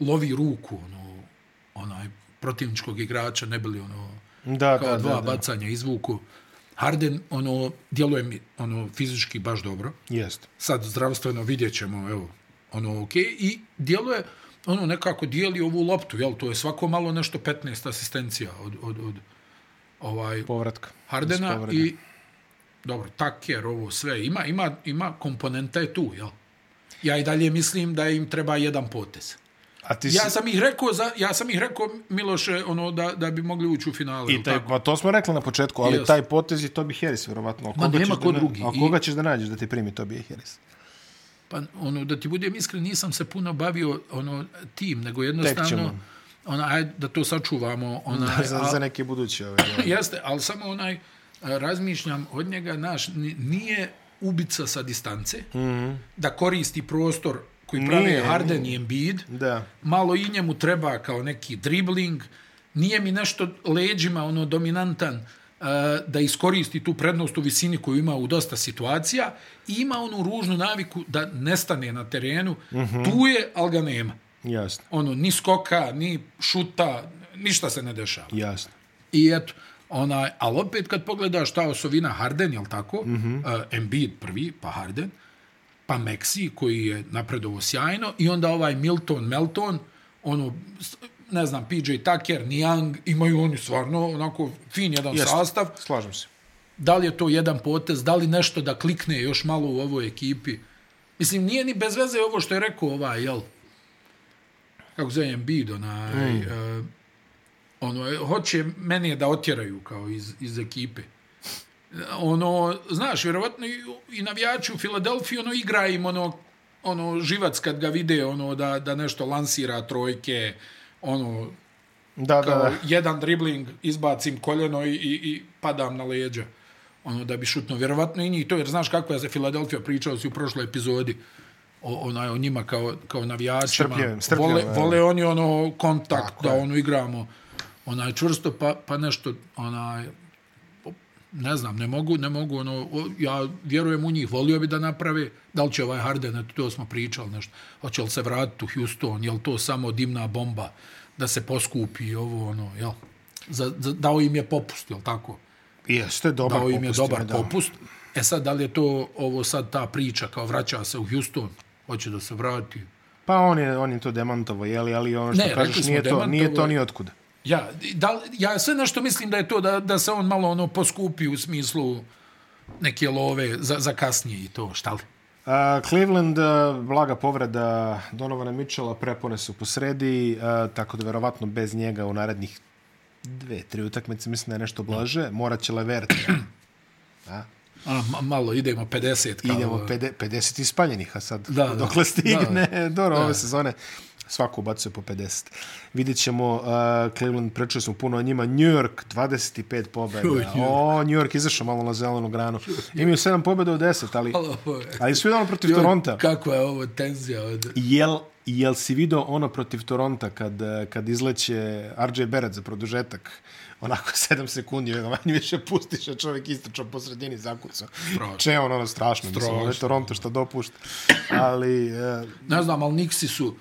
Speaker 2: lovi ruku, ono, onaj, protivničkog igrača, ne bili, ono,
Speaker 1: Da,
Speaker 2: kao
Speaker 1: da,
Speaker 2: dva
Speaker 1: da, da.
Speaker 2: bacanja izvuku. Harden, ono, djeluje mi, ono, fizički baš dobro.
Speaker 1: Jeste.
Speaker 2: Sad zdravstveno vidjet ćemo, evo, ono, okej. Okay. I djeluje, ono, nekako dijeli ovu loptu, jel? To je svako malo nešto 15 asistencija od, od, od ovaj,
Speaker 1: Povratka. Iz
Speaker 2: Hardena
Speaker 1: povrede.
Speaker 2: i, dobro, Tucker, ovo sve. Ima, ima, ima, komponenta je tu, jel? Ja i dalje mislim da im treba jedan potez.
Speaker 1: A ti si...
Speaker 2: Ja sam ih rekao, za, ja sam ih rekao Miloše, ono, da, da bi mogli ući u finale.
Speaker 1: I
Speaker 2: jel
Speaker 1: taj,
Speaker 2: tako?
Speaker 1: pa to smo rekli na početku, ali
Speaker 2: Jeste.
Speaker 1: taj potez je Tobi Harris, vjerovatno. A koga
Speaker 2: nema
Speaker 1: ćeš da,
Speaker 2: ko
Speaker 1: na-
Speaker 2: drugi.
Speaker 1: A
Speaker 2: I-
Speaker 1: koga ćeš da nađeš da ti primi Tobi
Speaker 2: (laughs)
Speaker 1: Harris?
Speaker 2: Pa ono da ti budem iskren nisam se puno bavio ono tim nego jednostavno
Speaker 1: ćemo.
Speaker 2: ona ajde da to sačuvamo ona
Speaker 1: Za, za neke buduće ove.
Speaker 2: jeste ali samo onaj a, razmišljam od njega naš ni- nije ubica sa distance mm -hmm. da koristi prostor koji prave
Speaker 1: Mhm. Nije,
Speaker 2: Harden i Embiid.
Speaker 1: Da.
Speaker 2: Malo i njemu treba kao neki dribling. Nije mi nešto leđima ono dominantan uh, da iskoristi tu prednost u visini koju ima u dosta situacija i ima onu ružnu naviku da nestane na terenu. Tu je, ali ga nema.
Speaker 1: Jasno,
Speaker 2: Ono, ni skoka, ni šuta, ništa se ne dešava.
Speaker 1: jasno.
Speaker 2: I eto, onaj, ali opet kad pogledaš ta osovina Harden, jel tako? Mm -hmm. uh, Embiid prvi, pa Harden, pa Meksi koji je napredovo sjajno i onda ovaj Milton Melton, ono, s- ne znam, PJ Tucker, Niang, imaju oni stvarno onako fin jedan
Speaker 1: Jeste.
Speaker 2: sastav.
Speaker 1: Slažem se.
Speaker 2: Da li je to jedan potez, da li nešto da klikne još malo u ovoj ekipi? Mislim, nije ni bez veze ovo što je rekao ovaj, jel, kako zove Embiid, onaj, mm. uh, ono, e, hoće mene da otjeraju kao iz, iz ekipe. Ono, znaš, vjerovatno i, i navijači u Filadelfiji, ono, igra im ono, ono, živac kad ga vide, ono, da, da nešto lansira trojke, ono,
Speaker 1: Da, da,
Speaker 2: kao
Speaker 1: da.
Speaker 2: jedan dribling, izbacim koljeno i, i, i padam na leđa. Ono da bi šutno. Vjerovatno i njih to, jer znaš kakva je za Filadelfija pričao si u prošloj epizodi o, onaj, o njima kao, kao navijačima.
Speaker 1: Strpljivo, strpljivo,
Speaker 2: vole,
Speaker 1: ja.
Speaker 2: vole oni ono kontakt, da ono igramo onaj čvrsto, pa, pa nešto onaj ne znam, ne mogu, ne mogu, ono, o, ja vjerujem u njih, volio bi da naprave, da li će ovaj Harden, eto, to smo pričali nešto, hoće li se vratiti u Houston, je li to samo dimna bomba, da se poskupi i ovo, ono, jel? Za, za, dao im je popust, jel tako?
Speaker 1: Jeste, dobar
Speaker 2: Dao im je
Speaker 1: popust,
Speaker 2: dobar
Speaker 1: da.
Speaker 2: popust. E sad, da li je to ovo sad ta priča, kao vraća se u Houston, hoće da se vrati,
Speaker 1: Pa on je, on je to demantovo, jeli, ali ono što
Speaker 2: Ne, rekli
Speaker 1: kažeš
Speaker 2: smo
Speaker 1: nije to, nije
Speaker 2: demantovo
Speaker 1: to
Speaker 2: je.
Speaker 1: ni otkuda.
Speaker 2: Ja, da, li- ja sve nešto mislim da je to da, da se on malo ono poskupi u smislu neke love za, za kasnije i to, šta li?
Speaker 1: Uh, Cleveland, uh, blaga povreda Donovana Mitchella, prepone su po sredi, uh, tako da verovatno bez njega u narednih dve, tri utakmice, mislim da je nešto blaže, morat će Levert.
Speaker 2: A, ma- malo, idemo 50. Kao,
Speaker 1: Idemo 50, 50 ispaljenih, a sad
Speaker 2: Da,
Speaker 1: da,
Speaker 2: da.
Speaker 1: dokle stigne,
Speaker 2: Da,
Speaker 1: da, (laughs) dobro, ove sezone svako ubacuje po 50. Vidjet ćemo, uh, Cleveland, pričali smo puno o njima, New York, 25 pobjeda.
Speaker 2: Joj, New York.
Speaker 1: O, New York izašao malo na zelenu granu. Imaju 7 pobjeda od 10, ali,
Speaker 2: Malo, ovo je-
Speaker 1: ali su idemo protiv
Speaker 2: Joj,
Speaker 1: Toronta.
Speaker 2: Kako je ovo tenzija od...
Speaker 1: Jel, jel si video ono protiv Toronta kad, eh, kad izleće RJ Barrett za produžetak? Onako (laughs) 7 sekundi, ono, manje više pustiš, a čovjek istočao po sredini zakucao.
Speaker 2: Strašno.
Speaker 1: Če on ono strašno, mislim, ono je
Speaker 2: Strašno.
Speaker 1: Toronto što dopušta. Ali, eh,
Speaker 2: Ne znam, ali Nixi su...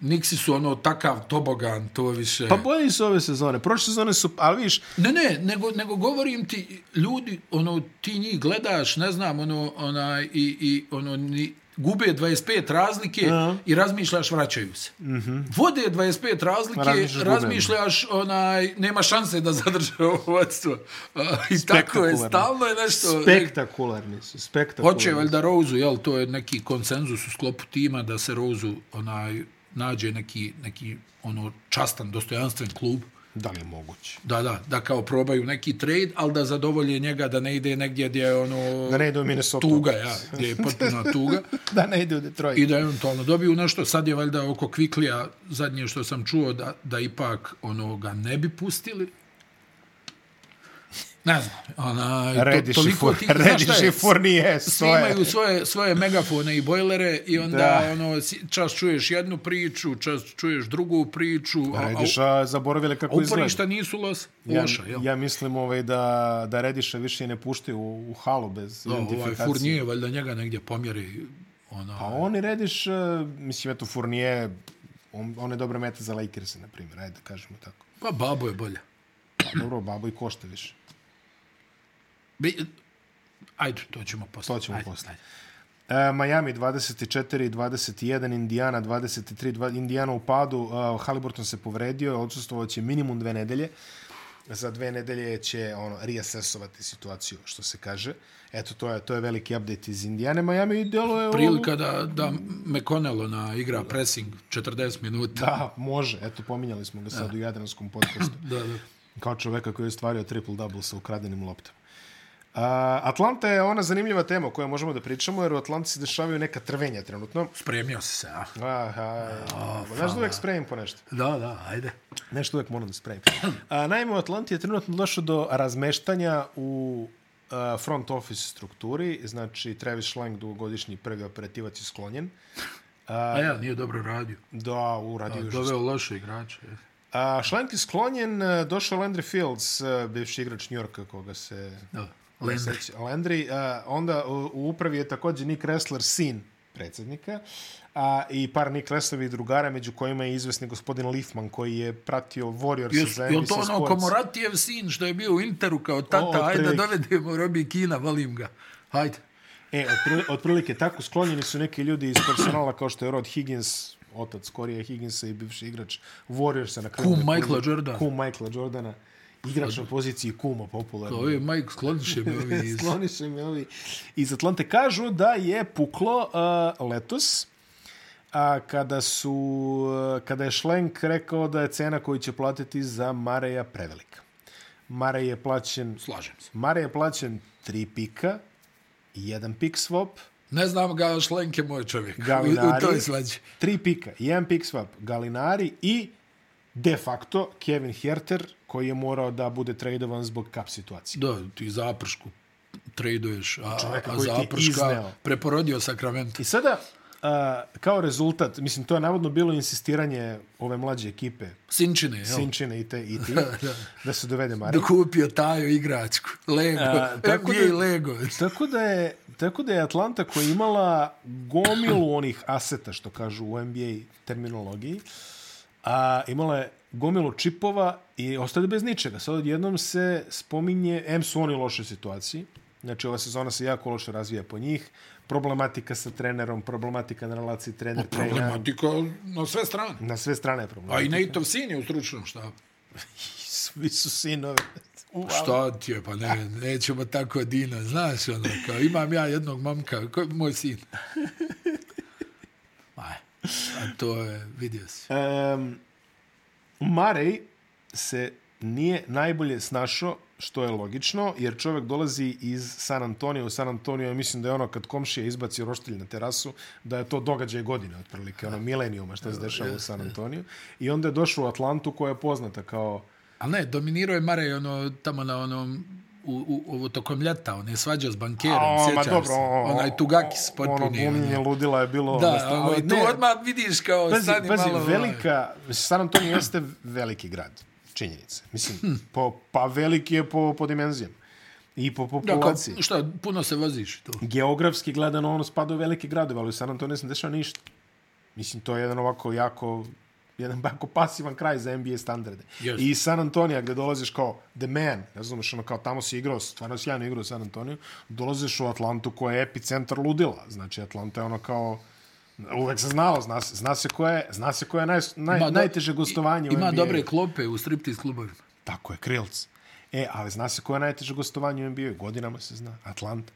Speaker 2: Nixi su ono takav tobogan, to više...
Speaker 1: pa bolji su ove sezone. Prošle sezone su, ali vidiš,
Speaker 2: Ne, ne, nego, nego govorim ti, ljudi, ono, ti njih gledaš, ne znam, ono, onaj, i, i ono, ni, gube 25 razlike i razmišljaš, vraćaju se. Mm -hmm. Vode 25 razlike,
Speaker 1: Mhm. Razmišljaš,
Speaker 2: razmišljaš,
Speaker 1: gube.
Speaker 2: razmišljaš onaj, nema šanse da zadrže ovo vodstvo. A, I tako je,
Speaker 1: Spektakularno.
Speaker 2: stalno je nešto...
Speaker 1: spektakularni su, spektakularni.
Speaker 2: Hoće valjda Rozu, jel, to je neki konsenzus u sklopu tima da se Rozu onaj, nađe neki, neki ono častan, dostojanstven klub.
Speaker 1: Da li je moguće?
Speaker 2: Da, da, da kao probaju neki trade, ali da zadovolje njega da ne ide negdje gdje je ono
Speaker 1: Da ne ide u Minnesota.
Speaker 2: tuga, ja, gdje je potpuna tuga
Speaker 1: (laughs) Da ne ide u Detroit.
Speaker 2: i da eventualno dobiju nešto. Sad je valjda oko Kviklija zadnje što sam čuo da, da ipak ono ga ne bi pustili. Ne znam, ona, to,
Speaker 1: Rediš i
Speaker 2: toliko
Speaker 1: for,
Speaker 2: ti, znaš šta
Speaker 1: rediš i
Speaker 2: je,
Speaker 1: for nije, stoje.
Speaker 2: snimaju svoje, svoje megafone i bojlere i onda da.
Speaker 1: Da.
Speaker 2: ono, si- čas čuješ jednu priču, čas čuješ drugu priču, a, a,
Speaker 1: Rediš, a zaboravile
Speaker 2: a
Speaker 1: kako izgleda.
Speaker 2: uporišta nisu los,
Speaker 1: Ja,
Speaker 2: loša, jel?
Speaker 1: ja mislim ovaj, da, da Rediša više ne puštaju u, u halu bez
Speaker 2: Da, ovaj
Speaker 1: identifikacije.
Speaker 2: Furnije, valjda njega negdje pomjeri. ono, Ona,
Speaker 1: A on i Rediš, eh, mislim, eto, Furnije, on, on je dobra meta za Lakers, na primjer, ajde, da kažemo tako.
Speaker 2: pa babo je bolja.
Speaker 1: Pa dobro, babo i košta više.
Speaker 2: Bi, ajde, to ćemo posle.
Speaker 1: To ćemo
Speaker 2: Ajde,
Speaker 1: posle.
Speaker 2: ajde.
Speaker 1: E, Miami 24, 21, Indiana 23, dva- Indiana u padu, uh, Haliburton se povredio, odsustovao će minimum dve nedelje. Za dve nedelje će ono, reasesovati situaciju, što se kaže. Eto, to je, to je veliki update iz Indijane. Miami deluje...
Speaker 2: Prilika da, da McConnell ona igra pressing 40 minuta.
Speaker 1: Da, može. Eto, pominjali smo ga sad u Jadranskom podcastu.
Speaker 2: Da, da.
Speaker 1: Kao čoveka koji je ostvario triple-double sa ukradenim loptama. Uh, Atlanta je ona zanimljiva tema o kojoj možemo da pričamo, jer u Atlanti se dešavaju neka trvenja trenutno.
Speaker 2: Spremio si se, a?
Speaker 1: Aha, znaš da uvek spremim po nešto.
Speaker 2: Da, da, ajde.
Speaker 1: Nešto uvek moram da spremim. A, naime, u Atlanti je trenutno došlo do razmeštanja u a, front office strukturi. Znači, Travis Schlenk, dugogodišnji prvi operativac, je sklonjen.
Speaker 2: A ja, nije dobro radio.
Speaker 1: Da, uradio je
Speaker 2: Doveo loše igrače.
Speaker 1: A, Šlenk je sklonjen, e, došao Landry Fields, e, bivši igrač Njorka koga se...
Speaker 2: Da.
Speaker 1: koga se
Speaker 2: Landry.
Speaker 1: seća. Landry. A, onda u, u upravi je također Nick Ressler, sin predsjednika, a, i par Nick Resslerovi drugara, među kojima je izvesni gospodin Lifman, koji je pratio Warriors
Speaker 2: Još,
Speaker 1: za
Speaker 2: je
Speaker 1: NBA
Speaker 2: to ono
Speaker 1: Sports.
Speaker 2: Komoratijev sin što je bio u Interu kao tata,
Speaker 1: O,
Speaker 2: o, ajde
Speaker 1: otprilike.
Speaker 2: dovedemo Robi Kina, volim ga. Hajde.
Speaker 1: E, otpri- otprilike tako sklonjeni su neki ljudi iz personala kao što je Rod Higgins, otac Korija Higginsa i bivši igrač Warriorsa na kraju.
Speaker 2: Kum Michaela Jordana.
Speaker 1: Kum Michaela Jordana. Igrač na poziciji kuma popularno.
Speaker 2: To je Mike Skloniše me ovi
Speaker 1: (laughs)
Speaker 2: iz...
Speaker 1: Skloniše me ovi iz Atlante. Kažu da je puklo uh, letos a kada su uh, kada je Šlenk rekao da je cena koju će platiti za Mareja prevelika. Marej je plaćen
Speaker 2: Slažem se.
Speaker 1: Mare je plaćen tri pika, jedan pik swap,
Speaker 2: Ne znam ga, Šlenke moj čovjek. U,
Speaker 1: Galinari.
Speaker 2: u toj svađi.
Speaker 1: Tri pika, jedan pik swap, Galinari i de facto Kevin Herter koji je morao da bude tradovan zbog kap situacije.
Speaker 2: Da, ti zapršku traduješ, a,
Speaker 1: Čovjeka
Speaker 2: a
Speaker 1: koji ti je izneo.
Speaker 2: zaprška preporodio Sacramento.
Speaker 1: I sada, a, kao rezultat, mislim, to je navodno bilo insistiranje ove mlađe ekipe,
Speaker 2: Sinčine, jel? Sinč...
Speaker 1: Sinčine i te i ti, (laughs) da. se dovede Mare.
Speaker 2: Dokupio taju igračku. Lego.
Speaker 1: A,
Speaker 2: A,
Speaker 1: tako
Speaker 2: tako
Speaker 1: da-
Speaker 2: je i Lego.
Speaker 1: Tako da, je, tako da je Atlanta koja je imala gomilu onih aseta, što kažu u NBA terminologiji, a imala je gomilu čipova i ostade bez ničega. Sad odjednom se spominje, em su oni u lošoj situaciji, znači ova sezona se jako loše razvija po njih, problematika sa trenerom, problematika na relaciji trener-trener,
Speaker 2: Problematika na sve strane.
Speaker 1: na sve strane je problem.
Speaker 2: A i Nateov sin je u stručnom štabu.
Speaker 1: Svi su sinove.
Speaker 2: Šta ti je, pa ne, nećemo tako Dina, znaš ono, kao imam ja jednog mamka, ko, moj
Speaker 1: (laughs)
Speaker 2: sin. Aj, a to je, vidio si.
Speaker 1: Um, Marej se nije najbolje snašao, što je logično, jer čovjek dolazi iz San Antonija. U San Antoniju ja mislim da je ono kad komšija izbaci roštilj na terasu, da je to događaj godine, otprilike, ono milenijuma što se dešava u San Antoniju. I onda je došao u Atlantu koja je poznata kao...
Speaker 2: Ali ne, dominirao je Marej ono, tamo na onom, u, u, ovo tokom ljeta, on je svađao s bankerom,
Speaker 1: A, ma
Speaker 2: sjećaš
Speaker 1: dobro,
Speaker 2: se.
Speaker 1: o, o,
Speaker 2: Onaj Tugakis
Speaker 1: Ono
Speaker 2: potpuni.
Speaker 1: glumljenje
Speaker 2: ono.
Speaker 1: ludila je bilo...
Speaker 2: Da, ovaj,
Speaker 1: dosta,
Speaker 2: ali tu
Speaker 1: ne,
Speaker 2: odmah vidiš kao,
Speaker 1: Pazi,
Speaker 2: stani
Speaker 1: pazi,
Speaker 2: malo.
Speaker 1: velika, San Antonio jeste veliki grad, činjenica. Mislim, po, pa veliki je po, po dimenzijama i po
Speaker 2: Da, kao,
Speaker 1: populaciji.
Speaker 2: šta, puno se voziš i to.
Speaker 1: Geografski gledano, ono spada u velike gradove, ali u San Antonio se ne dešava ništa. Mislim, to je jedan ovako jako jedan bako pasivan kraj za NBA standarde.
Speaker 2: Jeste.
Speaker 1: I iz San Antonija gdje dolaziš kao the man, razumeš, ono kao tamo si igrao, stvarno sjajno igrao u San Antoniju, dolaziš u Atlantu koja je epicentar ludila. Znači, Atlanta je ono kao Uvek se znalo, zna, se- zna se koje, zna se koje je naj, naj,
Speaker 2: do-
Speaker 1: najteže gostovanje u NBA.
Speaker 2: Ima dobre klope u striptiz klubovima.
Speaker 1: Tako je, Krilc. E, ali zna se koja je najteže gostovanje u NBA-u. Godinama se zna. Atlanta.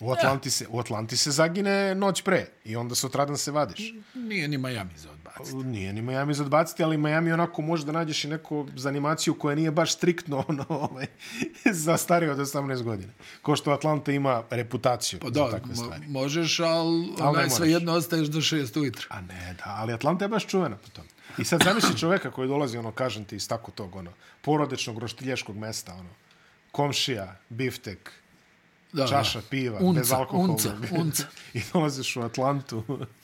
Speaker 1: U Atlanti, se, u Atlanti se zagine noć pre i onda sutradan se vadiš.
Speaker 2: Nije ni Miami za odbaciti.
Speaker 1: Nije ni Miami za odbaciti, ali Miami onako može da nađeš i neku zanimaciju koja nije baš striktno (laughs) ono, ovaj, za starije od 18 godina. Ko što Atlanta ima reputaciju pa,
Speaker 2: Da,
Speaker 1: za takve
Speaker 2: mo
Speaker 1: stvari.
Speaker 2: možeš, ali
Speaker 1: ne
Speaker 2: onaj,
Speaker 1: moraš.
Speaker 2: svejedno ostaješ do šest ujutro.
Speaker 1: A ne, da, ali Atlanta je baš čuvena po tome. I sad zamisli čoveka koji dolazi, ono, kažem ti, iz tako tog, ono, porodičnog, roštiljaškog mesta, ono, komšija, biftek,
Speaker 2: Pa Da,
Speaker 1: čaša piva,
Speaker 2: Unca,
Speaker 1: bez alkohola.
Speaker 2: unca, unca.
Speaker 1: (laughs) I dolaziš u Atlantu.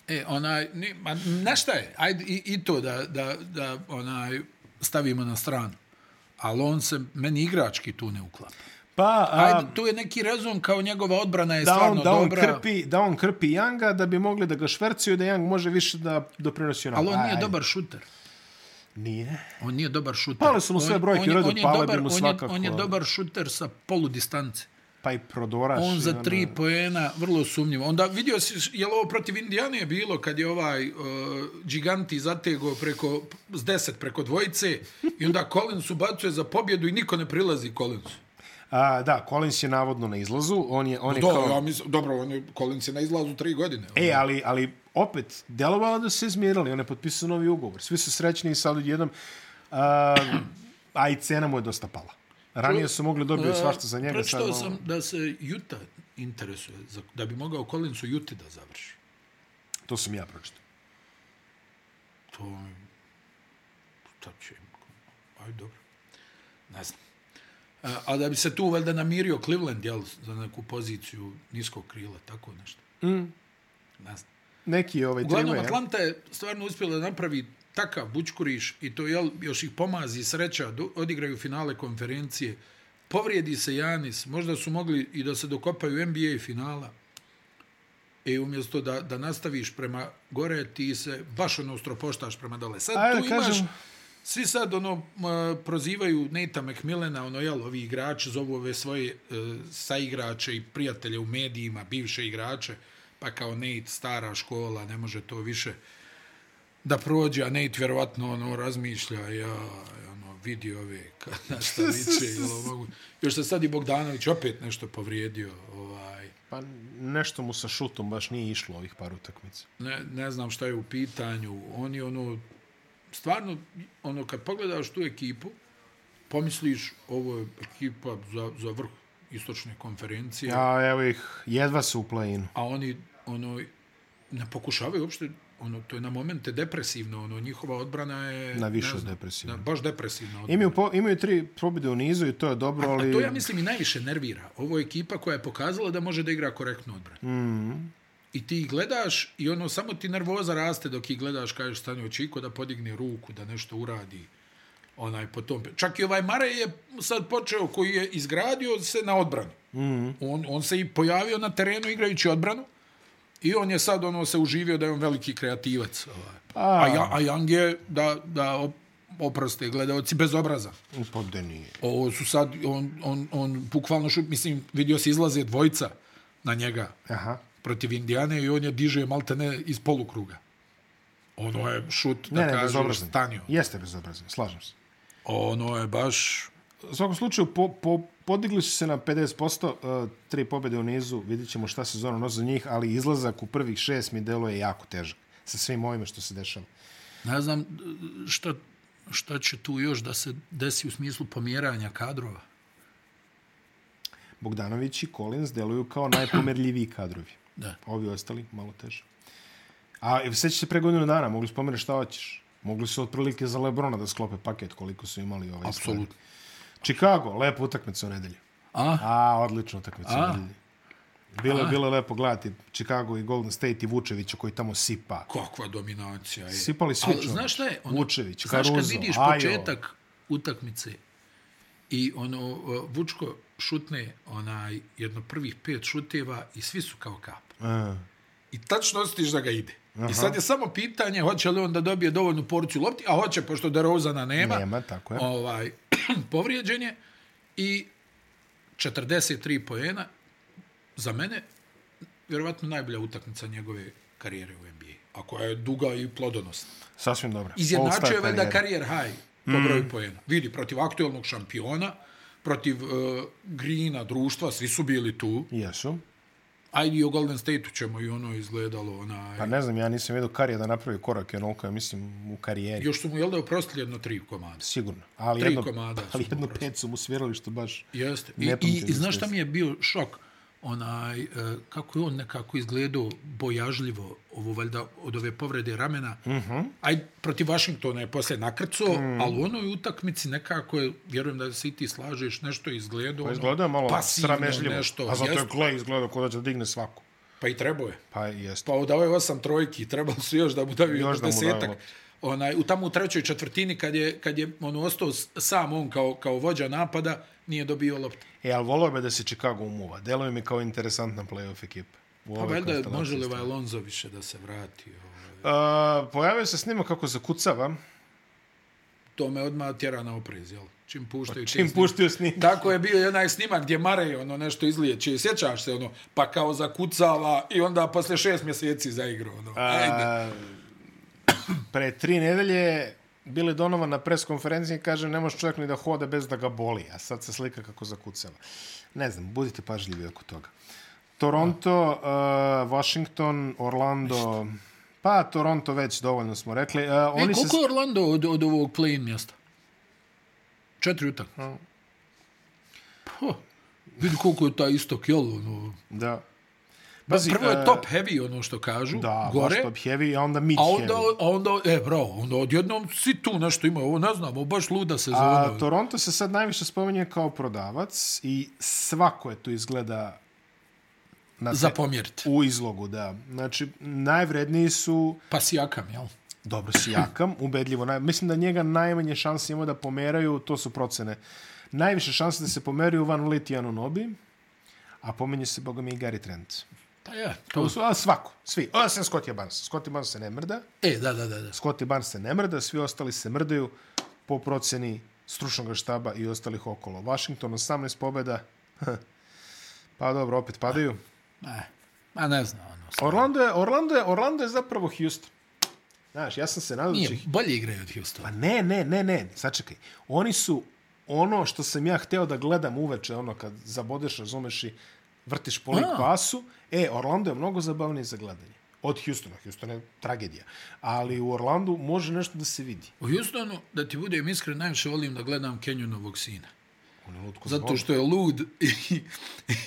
Speaker 2: E, onaj, ni, ma, na šta je? Ajde, i, i to da, da, da onaj, stavimo na stranu. Ali on se, meni igrački tu ne uklapa.
Speaker 1: Pa, a,
Speaker 2: Ajde, tu je neki rezon kao njegova odbrana je
Speaker 1: da, on,
Speaker 2: stvarno
Speaker 1: da, on
Speaker 2: dobra.
Speaker 1: krpi, da on krpi Younga da bi mogli da ga švercuju, da Young može više da doprinosi ono.
Speaker 2: Ali on nije dobar šuter.
Speaker 1: Nije.
Speaker 2: On nije dobar šuter.
Speaker 1: Pale su mu sve
Speaker 2: On-
Speaker 1: brojke
Speaker 2: on je-
Speaker 1: u redu,
Speaker 2: on je
Speaker 1: pale bi
Speaker 2: dobar-
Speaker 1: mu
Speaker 2: on je-
Speaker 1: svakako,
Speaker 2: On je
Speaker 1: ali-
Speaker 2: dobar šuter sa polu distance.
Speaker 1: Pa i prodoraš.
Speaker 2: On
Speaker 1: i
Speaker 2: za
Speaker 1: ono-
Speaker 2: tri poena, vrlo sumnjivo. Onda vidio si, je li ovo protiv Indijane je bilo kad je ovaj uh, Giganti zategao preko, s deset preko dvojice i onda Collins ubacuje za pobjedu i niko ne prilazi Collinsu.
Speaker 1: A, da, Collins je navodno na izlazu. On je, on je
Speaker 2: Do,
Speaker 1: E, kao...
Speaker 2: ja mislim, dobro, on je, Collins je na izlazu tri godine.
Speaker 1: E, ali, ali opet, delovalo da su se izmirili, on je potpisao novi ugovor. Svi su srećni i sad odjednom, a, a i cena mu je dosta pala. Ranije su mogli dobiti svašta za njega. sad
Speaker 2: E, Pročitao
Speaker 1: malo-
Speaker 2: sam da se Juta interesuje, za, da bi mogao Collins u Juti da završi.
Speaker 1: To sam ja pročitao.
Speaker 2: To je... Šta će im? Aj, dobro. Ne znam. A, a da bi se tu valjda namirio Cleveland, jel, za neku poziciju niskog krila, tako nešto. Mm. Ne znam.
Speaker 1: neki ovaj
Speaker 2: Uglavnom,
Speaker 1: trimuje.
Speaker 2: Atlanta je stvarno uspjela da napravi takav bučkuriš i to jel, još ih pomazi sreća, do, odigraju finale konferencije, povrijedi se Janis, možda su mogli i da se dokopaju NBA finala. E, umjesto da, da nastaviš prema gore, ti se baš ono stropoštaš prema dole. Sad
Speaker 1: Ajde,
Speaker 2: tu
Speaker 1: da
Speaker 2: imaš,
Speaker 1: kažem-
Speaker 2: svi sad ono, m, prozivaju Nata McMillana, ono, jel, ovi igrači zovu ove svoje e, saigrače i prijatelje u medijima, bivše igrače, pa kao Nate, stara škola, ne može to više da prođe, a Nate vjerovatno ono, razmišlja, ja, ono, vidi ove, ka- (laughs) na šta liče, jel, ovo mogu. Još se sad i Bogdanović opet nešto povrijedio, ovaj,
Speaker 1: Pa nešto mu sa šutom baš nije išlo ovih par utakmica.
Speaker 2: ne, ne znam šta je u pitanju. Oni ono, stvarno, ono, kad pogledaš tu ekipu, pomisliš, ovo je ekipa za, za vrh istočne konferencije, ja.
Speaker 1: Ja, evo ih, jedva su u play-inu.
Speaker 2: a oni, ono, ne pokušavaju uopšte, ono, to je na momente depresivno, ono, njihova odbrana je...
Speaker 1: Na više
Speaker 2: ne znam,
Speaker 1: depresivna.
Speaker 2: Na, baš depresivna odbrana.
Speaker 1: Imaju, po, imaju tri pobjede u nizu i to je dobro, ali...
Speaker 2: To ja mislim i najviše nervira. Ovo je ekipa koja je pokazala da može da igra korektnu odbranu. Mm.
Speaker 1: Mhm.
Speaker 2: I ti ih gledaš i ono, samo ti nervoza raste dok ih gledaš, kažeš Stanjo Čiko da podigne ruku, da nešto uradi onaj po tom. Čak i ovaj Mare je sad počeo koji je izgradio se na odbranu.
Speaker 1: Mhm.
Speaker 2: Mm. On, on se i pojavio na terenu igrajući odbranu i on je sad ono se uživio da je on veliki kreativac. Ovaj. A, ja, a Young je da, da op- oproste gledaoci bez obraza.
Speaker 1: Pa da nije.
Speaker 2: Ovo su sad, on, on, on bukvalno, šup, mislim, vidio se izlaze dvojca na njega
Speaker 1: Aha.
Speaker 2: protiv Indijane i on je diže malte ne iz polukruga. Ono je šut, da
Speaker 1: Ne, ne,
Speaker 2: kažeš,
Speaker 1: bezobrazan.
Speaker 2: stanio.
Speaker 1: Jeste bezobrazan, slažem se.
Speaker 2: Ono je baš...
Speaker 1: U svakom slučaju, po, po, podigli su se na 50%, uh, tri pobjede u nizu, vidjet ćemo šta sezona nosi za njih, ali izlazak u prvih šest mi deluje jako težak sa svim ovime što se dešava.
Speaker 2: Ne znam šta, šta će tu još da se desi u smislu pomjeranja kadrova.
Speaker 1: Bogdanović i Collins deluju kao najpomerljiviji kadrovi.
Speaker 2: Da.
Speaker 1: Ovi ostali, malo teže. A i sećaš se pre godinu dana, mogli su pomeriti šta hoćeš. Mogli su otprilike za Lebrona da sklope paket koliko su imali ovaj
Speaker 2: Apsolutno.
Speaker 1: stvar. Chicago, lepa utakmica u nedelju.
Speaker 2: A?
Speaker 1: A, odlična utakmica u
Speaker 2: A?
Speaker 1: nedelju. Bilo je bilo je lepo gledati Chicago i Golden State i Vučevića koji tamo sipa.
Speaker 2: Kakva dominacija je.
Speaker 1: Sipali svi,
Speaker 2: Ali
Speaker 1: čovječe.
Speaker 2: znaš šta je? Ono,
Speaker 1: Vučević,
Speaker 2: Znaš
Speaker 1: Caruso,
Speaker 2: kad vidiš
Speaker 1: Ajo.
Speaker 2: početak utakmice i ono, uh, Vučko šutne onaj, jedno prvih pet šuteva i svi su kao kap.
Speaker 1: E,
Speaker 2: I tačno ostiš da ga ide. Aha. I sad je samo pitanje hoće li on da dobije dovoljnu porciju lopti, a hoće, pošto DeRozana nema.
Speaker 1: E, Nema, tako je.
Speaker 2: Ovaj, (clears throat) povrijeđen je i 43 poena za mene vjerovatno najbolja utakmica njegove karijere u NBA, a koja je duga i plodonosna.
Speaker 1: sasvim dobro.
Speaker 2: Izjednačio je valjda
Speaker 1: karijera.
Speaker 2: karijer high po broju poena. Vidi, protiv aktuelnog šampiona, protiv uh, Greena, društva, svi su bili tu.
Speaker 1: Jesu.
Speaker 2: Ajde i o Golden State-u ćemo i ono izgledalo onaj...
Speaker 1: Pa ne znam, ja nisam vidio Karija da napravi korak, jer onoliko je, mislim, u karijeri.
Speaker 2: Još su mu, jel da, oprostili jedno tri komada.
Speaker 1: Sigurno. Ali
Speaker 2: Tri
Speaker 1: jedno,
Speaker 2: komada
Speaker 1: ali
Speaker 2: su mu
Speaker 1: jedno
Speaker 2: prosto.
Speaker 1: pet su mu svirali što baš...
Speaker 2: Jeste.
Speaker 1: Ne
Speaker 2: I, i,
Speaker 1: pamtim
Speaker 2: i znaš šta
Speaker 1: izgled.
Speaker 2: mi je bio šok? Onaj, e, kako je on nekako izgledao bojažljivo, ovo valjda od ove povrede ramena. Mm
Speaker 1: Mhm.
Speaker 2: -hmm. Aj, protiv Vašingtona je poslije nakrcao, mm. ali u onoj utakmici nekako je, vjerujem da se i ti slažeš, nešto je izgledao. ono,
Speaker 1: Izgledao je Pa malo
Speaker 2: pasivno
Speaker 1: sramežljivo.
Speaker 2: Nešto,
Speaker 1: a zato je
Speaker 2: jeste,
Speaker 1: Clay izgledao kod da će da digne svaku.
Speaker 2: Pa i trebao je.
Speaker 1: Pa jeste.
Speaker 2: Pa odavao je osam trojki, trebalo su još da mu daju još
Speaker 1: da mu daju
Speaker 2: desetak.
Speaker 1: loptu.
Speaker 2: Onaj, u tamo u trećoj četvrtini, kad je, kad je ono, ostao s- sam on kao, kao vođa napada, nije dobio loptu.
Speaker 1: E, ali volao bi da se Chicago umuva. Deluje mi kao interesantna playoff ekipa. U
Speaker 2: Pa
Speaker 1: ovoj
Speaker 2: valjda je,
Speaker 1: konstelaciji
Speaker 2: može li
Speaker 1: stvari.
Speaker 2: ovaj Alonso više da se vrati? Ovaj.
Speaker 1: A, pojavio se snima kako zakucava.
Speaker 2: To me odmah tjera na oprez, jel? Čim puštaju
Speaker 1: Pa
Speaker 2: te
Speaker 1: Čim
Speaker 2: snimke.
Speaker 1: puštio snim.
Speaker 2: Tako je bio i onaj snimak gdje Marej ono nešto izliječe, sjećaš se ono, pa kao zakucava i onda posle šest mjeseci zaigrao ono. Ajde.
Speaker 1: A, pre tri nedelje bili Donovan na pres konferenciji i kaže ne može čovjek ni da hoda bez da ga boli, a sad se slika kako zakucava. Ne znam, budite pažljivi oko toga. Toronto, uh, Washington, Orlando, pa Toronto već dovoljno smo rekli. Uh,
Speaker 2: E,
Speaker 1: oni
Speaker 2: koliko
Speaker 1: se,
Speaker 2: je Orlando od, od ovog play-in mjesta? Četiri utakmice. Pa, vidi koliko je taj istok, jel? Ono.
Speaker 1: da. Pazi,
Speaker 2: Prvo je
Speaker 1: e,
Speaker 2: top heavy, ono što kažu,
Speaker 1: da, gore,
Speaker 2: gore.
Speaker 1: baš top heavy, a onda mid
Speaker 2: A onda,
Speaker 1: heavy.
Speaker 2: a onda, e, bravo, onda odjednom si tu nešto ima, ovo ne znam, ovo baš luda ono, sezona.
Speaker 1: A Toronto se sad najviše spominje kao prodavac i svako je tu izgleda na
Speaker 2: za pomjeriti.
Speaker 1: u izlogu, da. Znači, najvredniji su,
Speaker 2: Pa sijakam, jel?
Speaker 1: dobro,
Speaker 2: (clears throat)
Speaker 1: Sijakam, ubedljivo. Naj, mislim da njega najmanje šanse ima da pomeraju, to su procene. Najviše šanse da se pomeraju Van Vliet i Anunobi, a pominje se, boga mi, i Gary Trent.
Speaker 2: Pa ja, to
Speaker 1: To su, a svako, svi. A, sem Scottie Barnes. Scottie Barnes se ne mrda.
Speaker 2: E, da, da, da. da.
Speaker 1: Scottie Barnes se ne mrda, svi ostali se mrdaju po proceni stručnog štaba i ostalih okolo. Washington 18 pobjeda, (laughs) pa dobro, opet padaju.
Speaker 2: Ne. E, Ma ne znam, ono. stvarno.
Speaker 1: Orlando je, Orlando je, Orlando je zapravo Houston. Znaš, ja sam se nadao da će...
Speaker 2: Nije, bolje igraju od Houstona.
Speaker 1: Pa ne, ne, ne, ne, sačekaj. Oni su ono što sam ja hteo da gledam uveče, ono kad zabodeš, razumeš i vrtiš po lik
Speaker 2: A.
Speaker 1: pasu, e, Orlando je mnogo zabavniji za gledanje. Od Houstona, Houston je tragedija. Ali u Orlandu može nešto da se vidi.
Speaker 2: U Houstonu, da ti budem iskren, najviše volim da gledam Kenjonovog sina.
Speaker 1: On je lutko
Speaker 2: Zato što je lud i,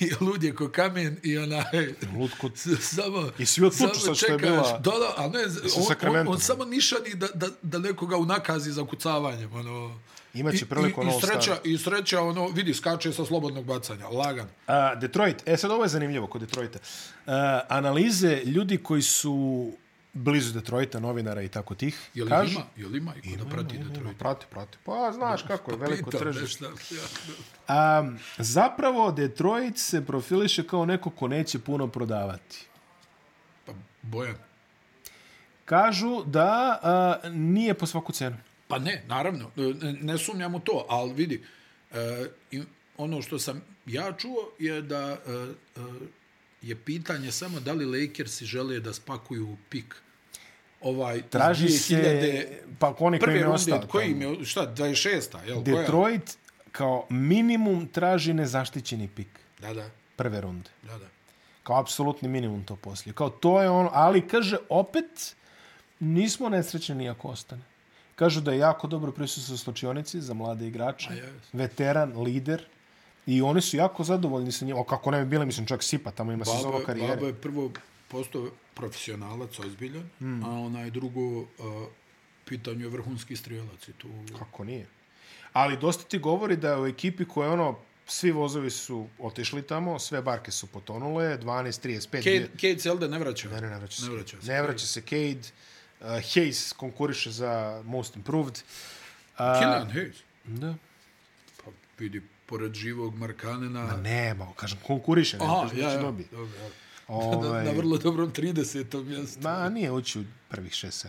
Speaker 2: i lud je ko kamen i onaj...
Speaker 1: Lutko...
Speaker 2: Samo,
Speaker 1: I svi otpuču sad što je bila-
Speaker 2: Da, da, ali ne,
Speaker 1: sa
Speaker 2: on, on,
Speaker 1: Sacramentom.
Speaker 2: on, samo nišani da, da, da nekoga unakazi za kucavanjem. Ono,
Speaker 1: Imaće priliku
Speaker 2: I, i,
Speaker 1: na
Speaker 2: i,
Speaker 1: All Staru.
Speaker 2: sreća, I sreća, ono, vidi, skače sa slobodnog bacanja, lagan.
Speaker 1: A, Detroit, e sad ovo je zanimljivo kod Detroita. A, analize ljudi koji su blizu Detroita, novinara i tako tih,
Speaker 2: Je li
Speaker 1: kažu...
Speaker 2: ima? Je li ima i ko da prati Detroit?
Speaker 1: Prati, prati. Pa znaš kako je, veliko
Speaker 2: Pitam
Speaker 1: tržište.
Speaker 2: nešto.
Speaker 1: Um, zapravo Detroit se profiliše kao neko ko neće puno prodavati.
Speaker 2: Pa, Bojan.
Speaker 1: Kažu da uh, nije po svaku cenu.
Speaker 2: Pa ne, naravno, ne, ne sumnjam u to, ali vidi, e, i ono što sam ja čuo je da e, e, je pitanje samo da li Lakersi žele da spakuju pik ovaj iz
Speaker 1: Traži
Speaker 2: 2000
Speaker 1: se, pa oni koji
Speaker 2: prve
Speaker 1: im je
Speaker 2: runde,
Speaker 1: ostao.
Speaker 2: koji im
Speaker 1: tamo.
Speaker 2: je, šta, 26-a, jel? koja?
Speaker 1: Detroit kao minimum traži nezaštićeni pik
Speaker 2: Da, da,
Speaker 1: prve runde.
Speaker 2: da, da.
Speaker 1: Kao apsolutni minimum to poslije. Kao to je ono, ali kaže opet nismo nesrećeni ako ostane. Kažu da je jako dobro prisustvo u slučionici za mlade igrače,
Speaker 2: jes.
Speaker 1: veteran, lider i oni su jako zadovoljni sa njim. O, kako ne bi bile, mislim, čak Sipa, tamo ima sezona
Speaker 2: Babo, je,
Speaker 1: karijere.
Speaker 2: babo je prvo postao profesionalac, ozbiljan, mm. a onaj drugo, uh, pitanju je vrhunski strijelac i tu...
Speaker 1: Kako nije? Ali dosta ti govori da je u ekipi koja je ono, svi vozovi su otišli tamo, sve barke su potonule, 12-35...
Speaker 2: Kate, Kate se jel da ne vraća?
Speaker 1: Ne, ne, ne vraća se.
Speaker 2: Ne vraća se.
Speaker 1: Ne vraća se Cade. Uh, Hayes konkuriše za Most Improved.
Speaker 2: Killian Hayes.
Speaker 1: Da.
Speaker 2: Pa vidi, pored živog Markanena...
Speaker 1: Pa Nema, kažem, konkuriše. Ne,
Speaker 2: Aha,
Speaker 1: kažem,
Speaker 2: ja,
Speaker 1: da će
Speaker 2: ja, (laughs)
Speaker 1: dobiti.
Speaker 2: dobro, ja.
Speaker 1: Ovaj-
Speaker 2: (laughs) Na, na vrlo dobrom 30. mjestu.
Speaker 1: Ma, nije ući u prvih 6-7.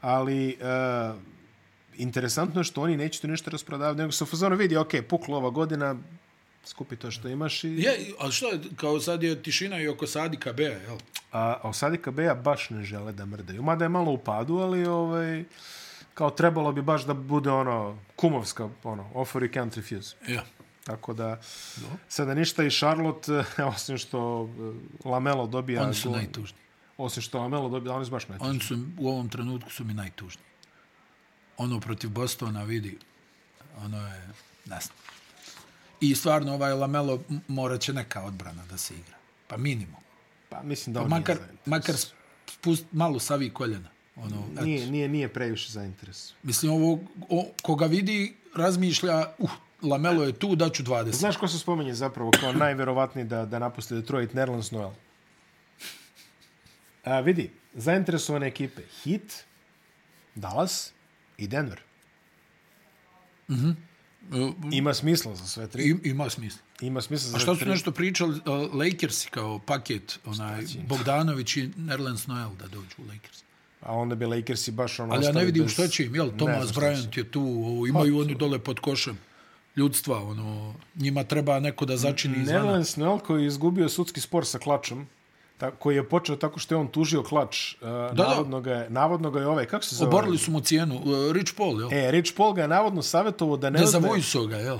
Speaker 1: Ali, uh, interesantno je što oni neće tu ništa rasprodavati, nego se u fazonu vidi, ok, pukla ova godina, skupi to što imaš i...
Speaker 2: Je, ali što je, kao sad je tišina i oko Sadika B, jel?
Speaker 1: A, a u Sadika Beja baš ne žele da mrdaju. Mada je malo u padu, ali ovaj, kao trebalo bi baš da bude ono kumovska, ono, offer you can't refuse.
Speaker 2: Ja.
Speaker 1: Tako da, sada ništa i Charlotte, (laughs) osim što e, Lamelo dobija...
Speaker 2: Oni su
Speaker 1: gol-
Speaker 2: najtužniji.
Speaker 1: Osim što Lamelo dobija, oni su baš najtužniji.
Speaker 2: Oni su, u ovom trenutku su mi najtužniji. Ono protiv Bostona vidi, ono je, ne znam. I stvarno ovaj Lamelo m- morat će neka odbrana da se igra. Pa minimum.
Speaker 1: Pa mislim da on
Speaker 2: Makar,
Speaker 1: nije, zainteresovan.
Speaker 2: makar spust, malo savi koljena. Ono, eto.
Speaker 1: nije, nije, nije previše zainteresovan.
Speaker 2: Mislim, ovo, o, koga vidi, razmišlja, uh, Lamelo je tu, daću 20. Zna,
Speaker 1: Znaš ko se spomenje zapravo kao najverovatniji da, da napuste Detroit, Nerlens Noel? A, vidi, zainteresovane ekipe Heat, Dallas i Denver. Ima smisla za sve tri.
Speaker 2: E, I, ima smisla.
Speaker 1: Ima smisla za
Speaker 2: A šta
Speaker 1: sve
Speaker 2: su
Speaker 1: tri.
Speaker 2: nešto pričali, uh, Lakersi kao paket, onaj, Bogdanović i Nerlens Noel da dođu u Lakers.
Speaker 1: A onda bi Lakersi baš ono
Speaker 2: Ali ja ne
Speaker 1: ostali
Speaker 2: vidim
Speaker 1: bez-
Speaker 2: što će im, jel,
Speaker 1: Ne
Speaker 2: Thomas
Speaker 1: znam šta će. Pa,
Speaker 2: Bryant je tu, ovo, imaju oni dole pod košem ljudstva, ono, njima treba neko da začini izvana.
Speaker 1: Nerlens Noel koji je izgubio sudski spor sa Klačom, ta, koji je počeo tako što je on tužio Klač, uh, navodno, ga je, navodno ga je ovaj, kako se zove?
Speaker 2: Oborili su mu cijenu, uh, Rich Paul, jel?
Speaker 1: E, Rich Paul ga je navodno savjetovo da ne...
Speaker 2: Ne
Speaker 1: uzme-
Speaker 2: zavuju su ga,
Speaker 1: (laughs)
Speaker 2: jel?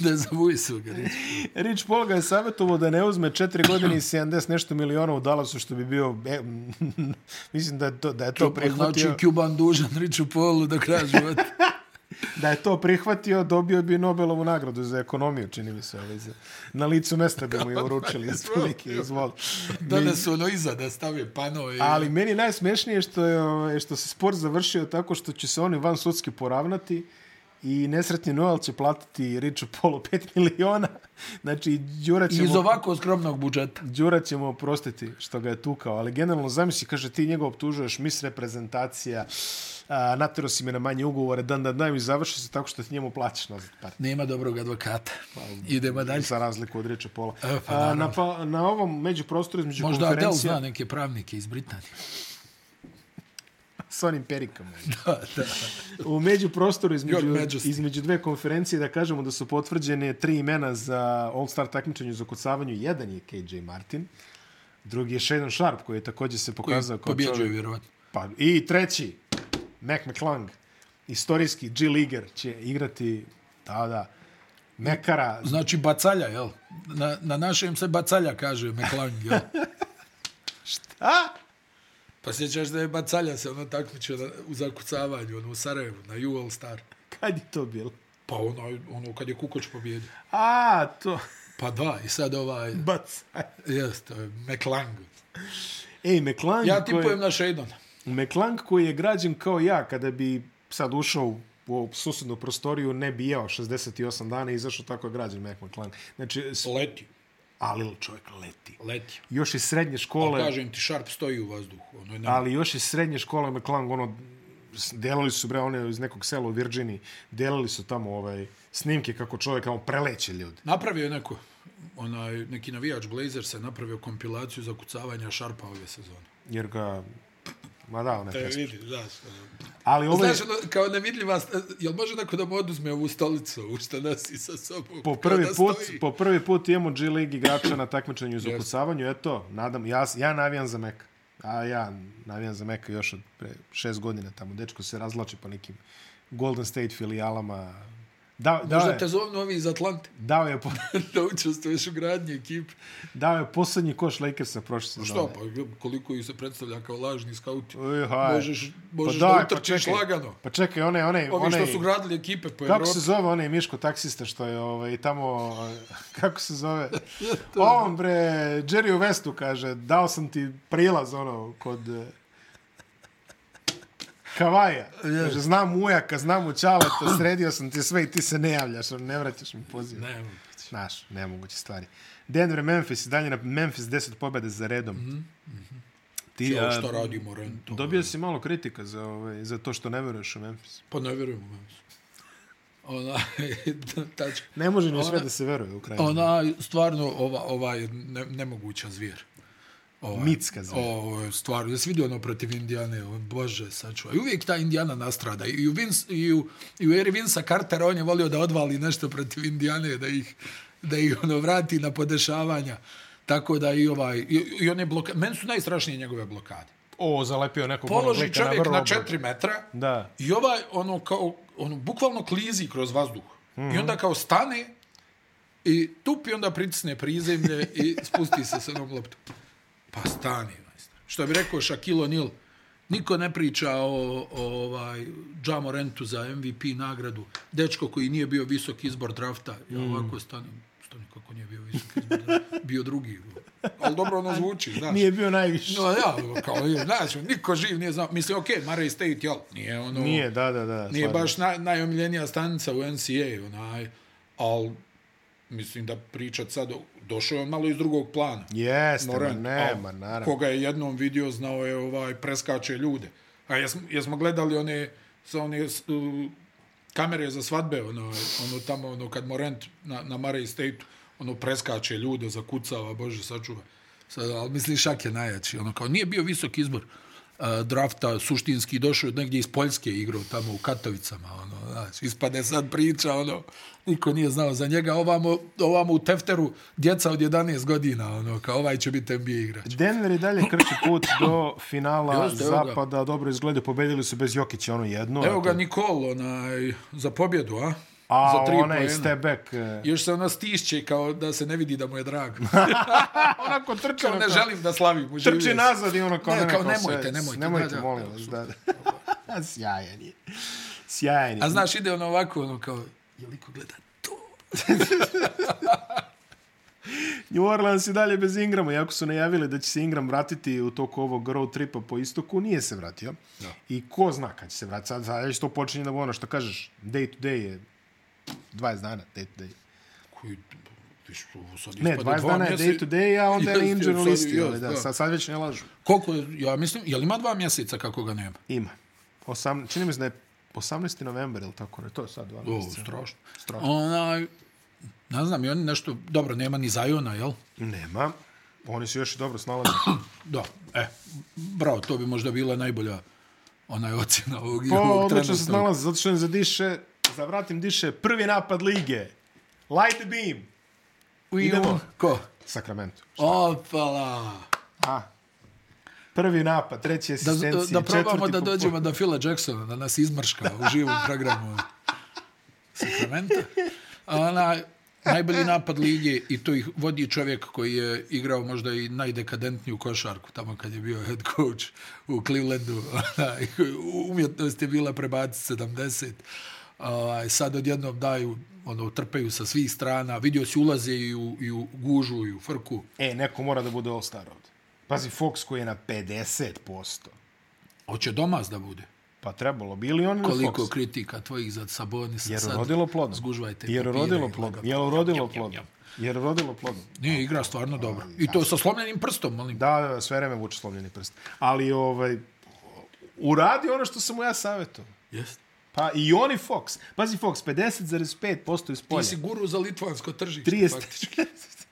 Speaker 2: Ne zavuju su ga, Rich.
Speaker 1: Rich Paul ga je savjetovao da ne uzme 4 godine i 70 nešto miliona u Dallasu, što bi bio... E, (laughs) mislim da je to, da je to
Speaker 2: Znači,
Speaker 1: prihvatio.
Speaker 2: Cuban dužan Richu Paulu do kraja života.
Speaker 1: Da je to prihvatio, dobio bi Nobelovu nagradu za ekonomiju, čini mi se. Ovaj, za, na licu mesta bi mu
Speaker 2: (laughs)
Speaker 1: je uručili. Izvolite, izvolite.
Speaker 2: Donesu ono iza da stave panove.
Speaker 1: Ali meni je najsmešnije što je ovaj, što se spor završio tako što će se oni van sudski poravnati i nesretni Noel će platiti Riču Polo (laughs) 5 miliona. Znači, Đura ćemo...
Speaker 2: Iz ovako skromnog budžeta.
Speaker 1: Đura će mu oprostiti što ga je tukao, ali generalno zamisli, kaže, ti njega optužuješ, mis reprezentacija, a, natero si me na manje ugovore, dan da dan i završi se tako što ti njemu plaćaš nazad par.
Speaker 2: Nema dobrog advokata. Idemo dalje.
Speaker 1: Za razliku od Riče Pola.
Speaker 2: E, pa
Speaker 1: a,
Speaker 2: naravno.
Speaker 1: na, pa, na ovom međuprostoru između
Speaker 2: Možda Adel
Speaker 1: konferencija
Speaker 2: zna neke pravnike iz Britanije.
Speaker 1: s onim perikama.
Speaker 2: (laughs) da, da.
Speaker 1: U međuprostoru između,
Speaker 2: Your Majesty.
Speaker 1: između dve konferencije da kažemo da su potvrđene tri imena za All-Star takmičenje za kocavanje. Jedan je KJ Martin, drugi je Shadon Sharp koji je također se
Speaker 2: Koji
Speaker 1: pokazao kao
Speaker 2: pobjeđuje,
Speaker 1: čovjek.
Speaker 2: vjerovatno.
Speaker 1: Pa, I treći, Mac McClung, istorijski G Liger će igrati da, da, Mekara.
Speaker 2: Znači bacalja, jel? Na, na našem se bacalja kaže McLang, jel?
Speaker 1: A!
Speaker 2: (laughs) Pa sjećaš da je bacalja se ono takmičio na, u zakucavanju, ono u Sarajevu, na UL Star.
Speaker 1: Kad je to bilo?
Speaker 2: Pa ono, ono kad je Kukoč pobjedio.
Speaker 1: A, to, (laughs)
Speaker 2: Pa da, i sad ovaj,
Speaker 1: bac.
Speaker 2: jest, to je McLang.
Speaker 1: Ej, McClung,
Speaker 2: Ja
Speaker 1: koji,
Speaker 2: tipujem na Shadona.
Speaker 1: McClung koji je građen kao ja, kada bi sad ušao u ovu susjednu prostoriju, ne bi jeo 68 dana i izašao tako je građen Mac McClung. Znači, s-
Speaker 2: Leti,
Speaker 1: ali čovjek leti.
Speaker 2: leti.
Speaker 1: Još iz srednje škole...
Speaker 2: Kažem ti, Sharp stoji u vazduhu. Ono, ne,
Speaker 1: ali još iz srednje škole McClung, ono, s- delali su, bre, one iz nekog sela u Virginiji, delali su tamo ovaj, snimke kako čovjek kao preleće ljudi.
Speaker 2: Napravio je neko, onaj, neki navijač Blazersa je napravio kompilaciju zakucavanja Sharpa ove sezone.
Speaker 1: Jer ga, ma da, Ovaj- ona
Speaker 2: E,
Speaker 1: pesma.
Speaker 2: vidi, znaš,
Speaker 1: Ali ovo je,
Speaker 2: Znaš, ono, kao nevidljiva, st- jel može neko da mu oduzme ovu stolicu, ovu što nosi sa sobom?
Speaker 1: po
Speaker 2: Kao
Speaker 1: prvi
Speaker 2: da
Speaker 1: put,
Speaker 2: stoji.
Speaker 1: po prvi put imamo G League igrača na takmičenju za ukucavanju, eto, nadam, ja, ja navijam za Meka. A ja navijam za Meka još od pre šest godina tamo, dečko se razlači po nekim Golden State filijalama, Da, dao,
Speaker 2: Možda
Speaker 1: je,
Speaker 2: te zovnu ovi iz Atlante (laughs)
Speaker 1: dao, je, po,
Speaker 2: da učestvuješ u gradnji ekipe.
Speaker 1: dao je posljednji koš Lakersa prošle sezone.
Speaker 2: Što pa, koliko ih se predstavlja kao lažni skauti.
Speaker 1: Ej, haj.
Speaker 2: Možeš, možeš
Speaker 1: Pa, daj,
Speaker 2: da utrčiš
Speaker 1: čekaj.
Speaker 2: lagano.
Speaker 1: Pa čekaj, onaj, onaj,
Speaker 2: Ovi
Speaker 1: onaj,
Speaker 2: što su gradili ekipe po
Speaker 1: kako
Speaker 2: Evropi.
Speaker 1: se zove onaj Miško taksista što je ovaj, tamo, (laughs) kako se
Speaker 2: (laughs)
Speaker 1: zove? On bre, Jerry Westu kaže, dao sam ti prilaz ono, kod eh, Kavaja. Kaže, znam ujaka, znam učaleta, sredio sam ti sve i ti se ne javljaš, ono, ne vraćaš mi poziv.
Speaker 2: Ne,
Speaker 1: Znaš, nemoguće stvari. Denver, Memphis, i dalje na Memphis 10 pobjede za redom. Ti,
Speaker 2: ja, Mhm, što
Speaker 1: eh,
Speaker 2: radimo, Rento.
Speaker 1: Dobio si malo kritika za, ovaj, za to što ne veruješ u Memphis.
Speaker 2: Pa ne vjerujemo. ne znam. Ona, tačka.
Speaker 1: Ne može ni u sve
Speaker 2: Ona-
Speaker 1: da se veruje u kraju.
Speaker 2: Ona je stvarno ova, ova je ne, nemoguća zvijer. Ova,
Speaker 1: Mitska zvijer.
Speaker 2: Ovo, stvarno, da se vidi ono protiv Indijane, o, bože, sačuvaj. I uvijek ta Indijana nastrada. I u, Vince, i u, i u eri Vinsa Cartera on je volio da odvali nešto protiv Indijane, da ih, da ih ono vrati na podešavanja. Tako da i ovaj, i, i one blokade, meni su najstrašnije njegove blokade.
Speaker 1: O, zalepio nekog
Speaker 2: Položi čovjek na četiri metra,
Speaker 1: Da.
Speaker 2: I ovaj, ono, kao, ono, bukvalno klizi kroz vazduh. Mm
Speaker 1: Mhm.
Speaker 2: -hmm. I onda kao stane i tupi, onda pritisne prizemlje i spusti se s onom loptom. Pa stani, majstor. Što bi rekao Shaquille O'Neal, niko ne priča o, o ovaj, Jamorentu za MVP nagradu. Dečko koji nije bio visok izbor drafta. Ja
Speaker 1: Mhm.
Speaker 2: ovako stani, stani kako nije bio visok izbor drafta. Bio drugi. Ali dobro ono zvuči, znaš.
Speaker 1: Nije bio najviše.
Speaker 2: No, ja, ono, kao, je, znaš, niko živ nije znao. Mislim, okej, okay, Murray State, jel, nije ono...
Speaker 1: Nije, da, da, da.
Speaker 2: Nije
Speaker 1: stvarno.
Speaker 2: baš naj, najomiljenija stanica u NCAA, onaj, ali mislim da pričat sad, o- došao je on malo iz drugog plana.
Speaker 1: Jeste, ma
Speaker 2: Morant,
Speaker 1: nema,
Speaker 2: al,
Speaker 1: naravno.
Speaker 2: Koga je jednom vidio, znao je ovaj, preskače ljude. A jesmo, jesmo gledali one, sa one s- u, kamere za svadbe, ono, ono tamo, ono, kad Morent na, na Murray State, ono, preskače ljude, zakucava, bože, sačuva. Sad, ali misli, Šak je najjači, ono, kao, nije bio visok izbor uh, drafta, suštinski došao je negdje iz Poljske igrao tamo u Katovicama, ono, znaš, ispade sad priča, ono, niko nije znao za njega, ovamo, ovamo u Tefteru, djeca od 11 godina, ono, kao, ovaj će biti NBA igrač.
Speaker 1: Denver i dalje krči
Speaker 2: (clears throat)
Speaker 1: put do finala
Speaker 2: Jeste, evo ga.
Speaker 1: zapada. Dobro izgleda, pobedili su bez Jokića ono jedno.
Speaker 2: Evo ga
Speaker 1: eto.
Speaker 2: Nikol, onaj, za pobjedu, a?
Speaker 1: A
Speaker 2: za tri
Speaker 1: onaj
Speaker 2: poena.
Speaker 1: step back. eh,
Speaker 2: Još se ona stišće kao da se ne vidi da mu je (laughs) drago.
Speaker 1: Onako trči.
Speaker 2: Kao ne
Speaker 1: onako,
Speaker 2: želim da slavim. uživio
Speaker 1: Trči
Speaker 2: sam.
Speaker 1: nazad i ono kao...
Speaker 2: Ne,
Speaker 1: ono
Speaker 2: kao
Speaker 1: sve,
Speaker 2: nemojte, nemojte,
Speaker 1: Nemojte,
Speaker 2: da, da,
Speaker 1: molim
Speaker 2: da,
Speaker 1: vas. Da, da. (laughs) Sjajan je. Sjajan je.
Speaker 2: A znaš, ide ono ovako, ono kao, je li ko gleda to?
Speaker 1: New Orleans je dalje bez Ingrama, iako su najavili da će se Ingram vratiti u toku ovog road tripa po istoku, nije se vratio.
Speaker 2: Da.
Speaker 1: I ko zna kad će se vratiti. Sad, sad već to počinje da ono što kažeš, day to day je 20 dana, day to day.
Speaker 2: Koji, ti što, ovo sad
Speaker 1: Ne,
Speaker 2: ispada
Speaker 1: 20
Speaker 2: dva
Speaker 1: dana je day
Speaker 2: mjeseca-
Speaker 1: to day, a
Speaker 2: (laughs)
Speaker 1: onda je na
Speaker 2: Jeste,
Speaker 1: injury
Speaker 2: sad je,
Speaker 1: listi.
Speaker 2: jest,
Speaker 1: ali da, sad, sad već ne lažu.
Speaker 2: Koliko je, ja mislim, je li ima dva mjeseca kako ga nema?
Speaker 1: Ima. Osam, čini mi se da je 18. novembar, ili tako ne, to je sad dva
Speaker 2: O,
Speaker 1: mjeseca.
Speaker 2: strašno.
Speaker 1: Strašno.
Speaker 2: Onaj, ne znam, i oni nešto, dobro, nema ni Zajona, jel?
Speaker 1: Nema. Oni su još i dobro
Speaker 2: (laughs)
Speaker 1: snalazili.
Speaker 2: Da, e, bravo, to bi možda bila najbolja onaj ocjena ovog,
Speaker 1: Pa,
Speaker 2: ovog
Speaker 1: odlično se
Speaker 2: trenutnog.
Speaker 1: snalaze, zato što im zadiše, za vratim diše prvi napad lige. Light the beam.
Speaker 2: I
Speaker 1: Idemo.
Speaker 2: on- Ko?
Speaker 1: Sacramento.
Speaker 2: Opala!
Speaker 1: A. Prvi napad, treći
Speaker 2: Da,
Speaker 1: asistencija,
Speaker 2: da probamo
Speaker 1: četvrti
Speaker 2: da
Speaker 1: po-
Speaker 2: dođemo do Phila Jacksona, da nas izmrška u živom programu Sakramenta. A Ona, najbolji napad lige i to ih vodi čovjek koji je igrao možda i najdekadentniju košarku tamo kad je bio head coach u Clevelandu. Ona, umjetnost je bila prebaciti 70. Ovaj, sad odjednom daju, ono, trpaju sa svih strana. Vidio si ulaze i u, i u gužu i u frku.
Speaker 1: E, neko mora da bude all-star ovdje. Pazi, Fox koji je na 50%.
Speaker 2: Hoće domaz da bude.
Speaker 1: Pa trebalo bi ili on ili
Speaker 2: koliko
Speaker 1: Fox.
Speaker 2: kritika tvojih za Sabonisa
Speaker 1: Jer
Speaker 2: sad
Speaker 1: rodilo plodom.
Speaker 2: Zgužvajte
Speaker 1: Jer
Speaker 2: papire
Speaker 1: rodilo
Speaker 2: i
Speaker 1: plodom.
Speaker 2: laga-
Speaker 1: Jer rodilo plodom. Jer rodilo plodom.
Speaker 2: Nije igra stvarno dobro. I to sa slomljenim prstom, molim.
Speaker 1: Da, da, da, sve vreme vuče slomljeni prst. Ali, ovaj, uradi ono što sam mu ja savjetuo.
Speaker 2: Jest.
Speaker 1: Pa i oni Fox. Pazi Fox, 50,5% iz polja.
Speaker 2: Ti si guru za litvansko tržište. 30.
Speaker 1: 30. (laughs)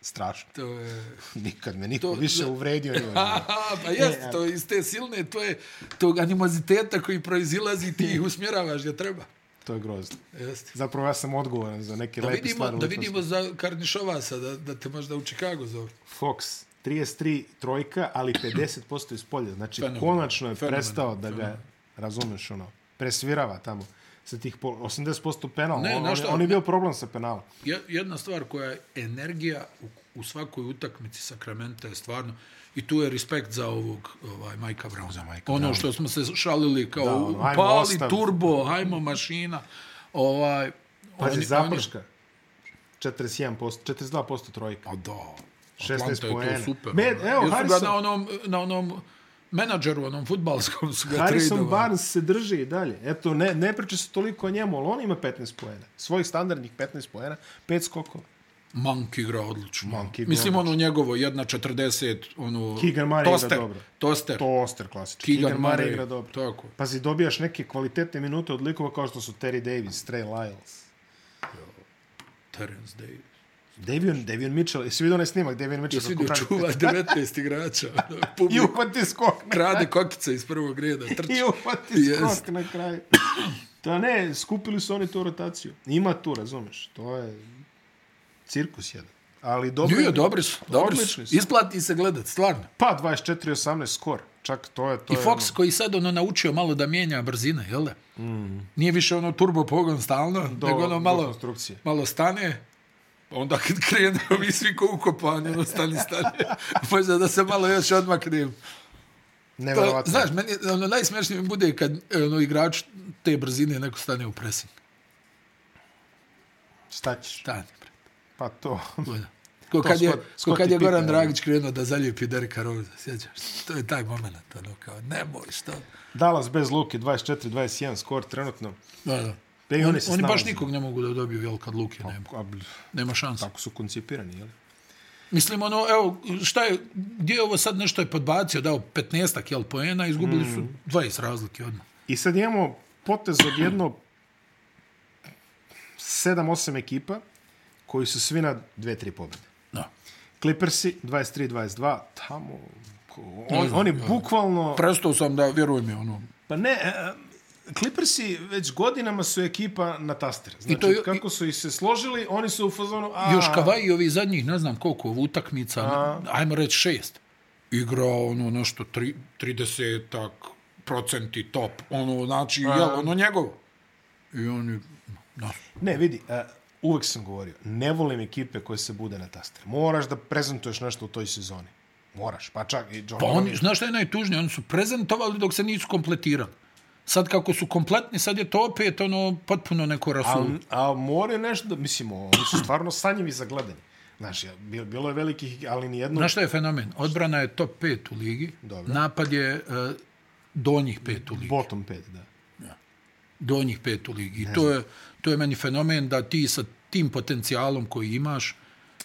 Speaker 1: Strašno.
Speaker 2: To je... (laughs)
Speaker 1: Nikad me niko
Speaker 2: To-
Speaker 1: više uvredio. nije
Speaker 2: (laughs)
Speaker 1: uvredio.
Speaker 2: Aha, pa
Speaker 1: E,
Speaker 2: jest, to je iz te silne, to je tog animoziteta koji proizilazi ti ih usmjeravaš gdje treba.
Speaker 1: to je grozno.
Speaker 2: Jeste.
Speaker 1: Zapravo ja sam odgovoran za neke
Speaker 2: Da
Speaker 1: lepe
Speaker 2: vidimo,
Speaker 1: stvari. u
Speaker 2: da
Speaker 1: Litvanskoj.
Speaker 2: vidimo za Karnišovasa, da, da te možda u Čikago zove.
Speaker 1: Fox, 33 trojka, ali 50% iz polja. Znači,
Speaker 2: Fenomenalno.
Speaker 1: konačno je
Speaker 2: Fenomenalno.
Speaker 1: prestao da ga, razumeš, ono, presvirava tamo sa tih pol, 80% penala.
Speaker 2: Ne,
Speaker 1: on,
Speaker 2: znaš
Speaker 1: on,
Speaker 2: šta,
Speaker 1: on je
Speaker 2: ne-
Speaker 1: bio problem sa penalom.
Speaker 2: Je- jedna stvar koja je energija u, u svakoj utakmici Sakramenta je stvarno i tu je respekt za ovog ovaj Majka Brauna. Za
Speaker 1: Mike'a
Speaker 2: ono što smo se šalili kao
Speaker 1: Da, ono,
Speaker 2: da,
Speaker 1: ajmo
Speaker 2: pali
Speaker 1: ostavi.
Speaker 2: turbo, hajmo mašina. Ovaj
Speaker 1: Pazi,
Speaker 2: oni-
Speaker 1: zaprška. 41%, 42% trojka.
Speaker 2: oni- A da.
Speaker 1: 16
Speaker 2: Atlanta je
Speaker 1: poena.
Speaker 2: to super.
Speaker 1: Med-
Speaker 2: ono.
Speaker 1: evo,
Speaker 2: Jer su
Speaker 1: Harrison-
Speaker 2: ga na onom, na onom menadžeru, onom futbalskom su ga
Speaker 1: Harrison
Speaker 2: tradovali.
Speaker 1: Barnes se drži i dalje. Eto, ne, ne priča se toliko o njemu, ali on ima 15 poena. Svojih standardnih 15 poena, 5 skokova.
Speaker 2: Monk igra odlično.
Speaker 1: Monk igra
Speaker 2: Mislim, ono njegovo, jedna 40, ono...
Speaker 1: Keegan Murray igra
Speaker 2: toster,
Speaker 1: dobro.
Speaker 2: Toster.
Speaker 1: To oster klasički.
Speaker 2: Keegan
Speaker 1: Keegan Murray
Speaker 2: Murray,
Speaker 1: igra dobro.
Speaker 2: tako.
Speaker 1: Pazi, dobijaš neke kvalitetne minute od likova kao što su Terry Davis, Trey Lyles.
Speaker 2: Terence Davis.
Speaker 1: Davion, Davion Mitchell, jesi vidio onaj snimak Davion Mitchell?
Speaker 2: Jesi vidio
Speaker 1: kako
Speaker 2: čuva 19 igrača. ono,
Speaker 1: pravi- (laughs) I
Speaker 2: Publiku
Speaker 1: uhvati skok na
Speaker 2: krade kokice iz prvog reda. Trči.
Speaker 1: I uhvati
Speaker 2: Jest.
Speaker 1: skok na
Speaker 2: (clears throat)
Speaker 1: kraju. Da ne, skupili su oni tu rotaciju. Ima tu, razumeš. To je cirkus jedan. Ali dobro.
Speaker 2: Nije, dobri su. Dobri su.
Speaker 1: Odlični su.
Speaker 2: Isplati se gledat, stvarno.
Speaker 1: Pa 24-18 skor. Čak to je... To
Speaker 2: I
Speaker 1: je
Speaker 2: Fox koji sad ono naučio malo da mijenja brzine, jel da? Mm. Nije više ono turbo pogon stalno,
Speaker 1: Do-
Speaker 2: nego ono
Speaker 1: do
Speaker 2: malo,
Speaker 1: konstrukcije.
Speaker 2: malo stane, pa onda kad krene, (laughs) mi svi ko ukopani, ono stani, stani. (laughs) Možda da se malo još odmaknem.
Speaker 1: ono,
Speaker 2: To,
Speaker 1: nevjerovatno.
Speaker 2: znaš, meni ono, najsmješnije mi bude kad ono, igrač te brzine neko stane u pressing.
Speaker 1: Šta ćeš?
Speaker 2: Stani, bre.
Speaker 1: Pa to.
Speaker 2: (laughs) Voda. Ko
Speaker 1: To
Speaker 2: kad je,
Speaker 1: Scott-
Speaker 2: ko
Speaker 1: Scottie
Speaker 2: kad je
Speaker 1: Pippen,
Speaker 2: Goran
Speaker 1: ono.
Speaker 2: Dragić krenuo da zaljepi Dereka Rosa, sjećaš? se? To je taj moment, ono kao, nemoj, šta?
Speaker 1: Dallas bez Luke, 24-21 skor trenutno.
Speaker 2: Da, da.
Speaker 1: Pa i
Speaker 2: oni,
Speaker 1: oni se
Speaker 2: oni baš
Speaker 1: snalaze. Pa.
Speaker 2: nikog ne mogu da dobiju, jel, kad Luke nema.
Speaker 1: A, bl-
Speaker 2: Nema šanse.
Speaker 1: Tako su koncipirani, jel?
Speaker 2: Mislim, ono, evo, šta je, gdje je ovo sad nešto je podbacio, dao 15-ak, jel, poena, izgubili su
Speaker 1: Mm.
Speaker 2: 20 razlike odmah.
Speaker 1: I sad imamo potez od jedno 7-8 ekipa koji su svi na 2-3 pobjede.
Speaker 2: Da.
Speaker 1: Clippersi 23-22, tamo... ko- On,
Speaker 2: znam,
Speaker 1: oni
Speaker 2: ja.
Speaker 1: bukvalno...
Speaker 2: Prestao sam da, vjeruj mi, ono,
Speaker 1: Pa ne, e, Clippersi već godinama su ekipa na tastere. Znači,
Speaker 2: to je-
Speaker 1: kako su ih se složili, oni su u fazonu... A,
Speaker 2: još Kavaj ovih zadnjih, ne znam koliko utakmica, ajmo reći šest, igrao ono nešto tri, 30-ak procenti top, ono, znači, jel, ono njegovo. I on je, da,
Speaker 1: Ne, vidi, uh, uvek sam govorio, ne volim ekipe koje se bude na taster. Moraš da prezentuješ nešto u toj sezoni. Moraš, pa čak i John
Speaker 2: Pa oni, znaš šta je najtužnije? Oni su prezentovali dok se nisu kompletirali. Sad kako su kompletni, sad je to opet ono potpuno neko rasul.
Speaker 1: A, a moraju nešto da, mislim, oni su stvarno sanjivi za gledanje. Znaš, ja, bilo, bilo je velikih, ali ni jedno...
Speaker 2: Znaš šta je fenomen? Odbrana je top 5 u ligi,
Speaker 1: Dobro.
Speaker 2: napad je e, donjih 5 u ligi.
Speaker 1: Bottom 5, da.
Speaker 2: donjih pet u ligi. I to je, to je meni fenomen da ti sa tim potencijalom koji imaš,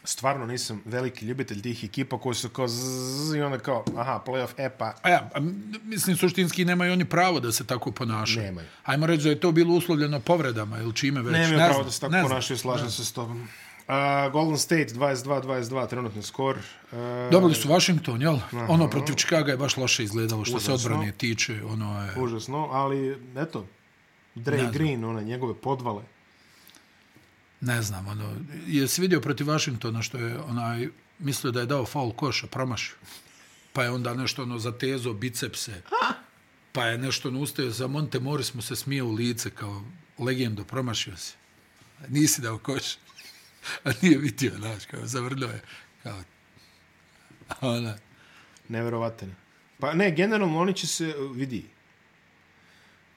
Speaker 1: Stvarno nisam veliki ljubitelj tih ekipa koji su kao zzz, i onda kao, aha, playoff, e pa,
Speaker 2: a ja, a m- mislim suštinski nemaju oni pravo da se tako ponašaju.
Speaker 1: Nemaju.
Speaker 2: Ajmo reći da je to bilo uslovljeno povredama ili čime već.
Speaker 1: ne mi
Speaker 2: ne
Speaker 1: je pravo
Speaker 2: znam,
Speaker 1: da se tako
Speaker 2: ne znam.
Speaker 1: ponašaju, slažem se s tobom. Uh, Golden State 22-22, trenutni skor. Uh,
Speaker 2: Dobili su Washington, jel? Ono protiv Čikaga je baš loše izgledalo što se
Speaker 1: Užasno.
Speaker 2: odbrane tiče. Ono je,
Speaker 1: Užasno, ali eto, Dre Green, one njegove podvale.
Speaker 2: ne znam, ono, jesi vidio protiv Washingtona što je onaj, mislio da je dao faul koša, promašio. Pa je onda nešto ono zatezo bicepse. Pa je nešto ono ustao za Monte Morris mu se smije u lice kao legendo, promašio si. Nisi dao koš. A nije vidio, znaš, kao zavrljao je. Kao, ono. A ona,
Speaker 1: Neverovatan. Pa ne, generalno oni će se, uh, vidi,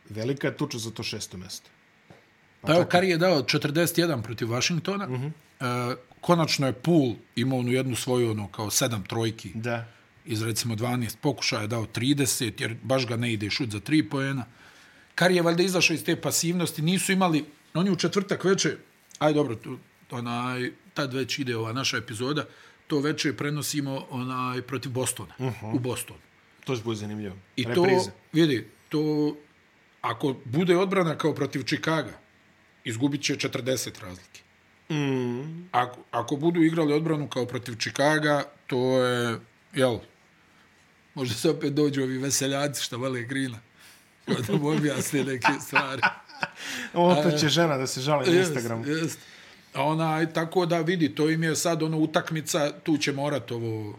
Speaker 1: velika je tuča za to šesto mesto.
Speaker 2: Pa evo, Kari je dao 41 protiv Washingtona. Uh -huh. e, konačno je Pool imao onu jednu svoju, ono, kao sedam trojki.
Speaker 1: Da.
Speaker 2: iz recimo 12 pokušaja je dao 30, jer baš ga ne ide šut za 3 poena. Kari je valjda izašao iz te pasivnosti, nisu imali, oni u četvrtak veče, aj dobro, tu, onaj, tad već ide ova naša epizoda, to veče prenosimo onaj protiv Bostona, uh -huh. u Bostonu.
Speaker 1: To će bude zanimljivo.
Speaker 2: I
Speaker 1: Reprize.
Speaker 2: to, vidi, to, ako bude odbrana kao protiv Čikaga, izgubit će 40 razlike. Mm. Ako, ako budu igrali odbranu kao protiv Čikaga, to je, jel, možda se opet dođu ovi veseljaci što vole Grina. Pa (laughs) da mu objasne neke stvari.
Speaker 1: Opet će žena da se žali na Instagramu.
Speaker 2: Jest, jest. A Onaj, tako da vidi, to im je sad ono utakmica, tu će morat ovo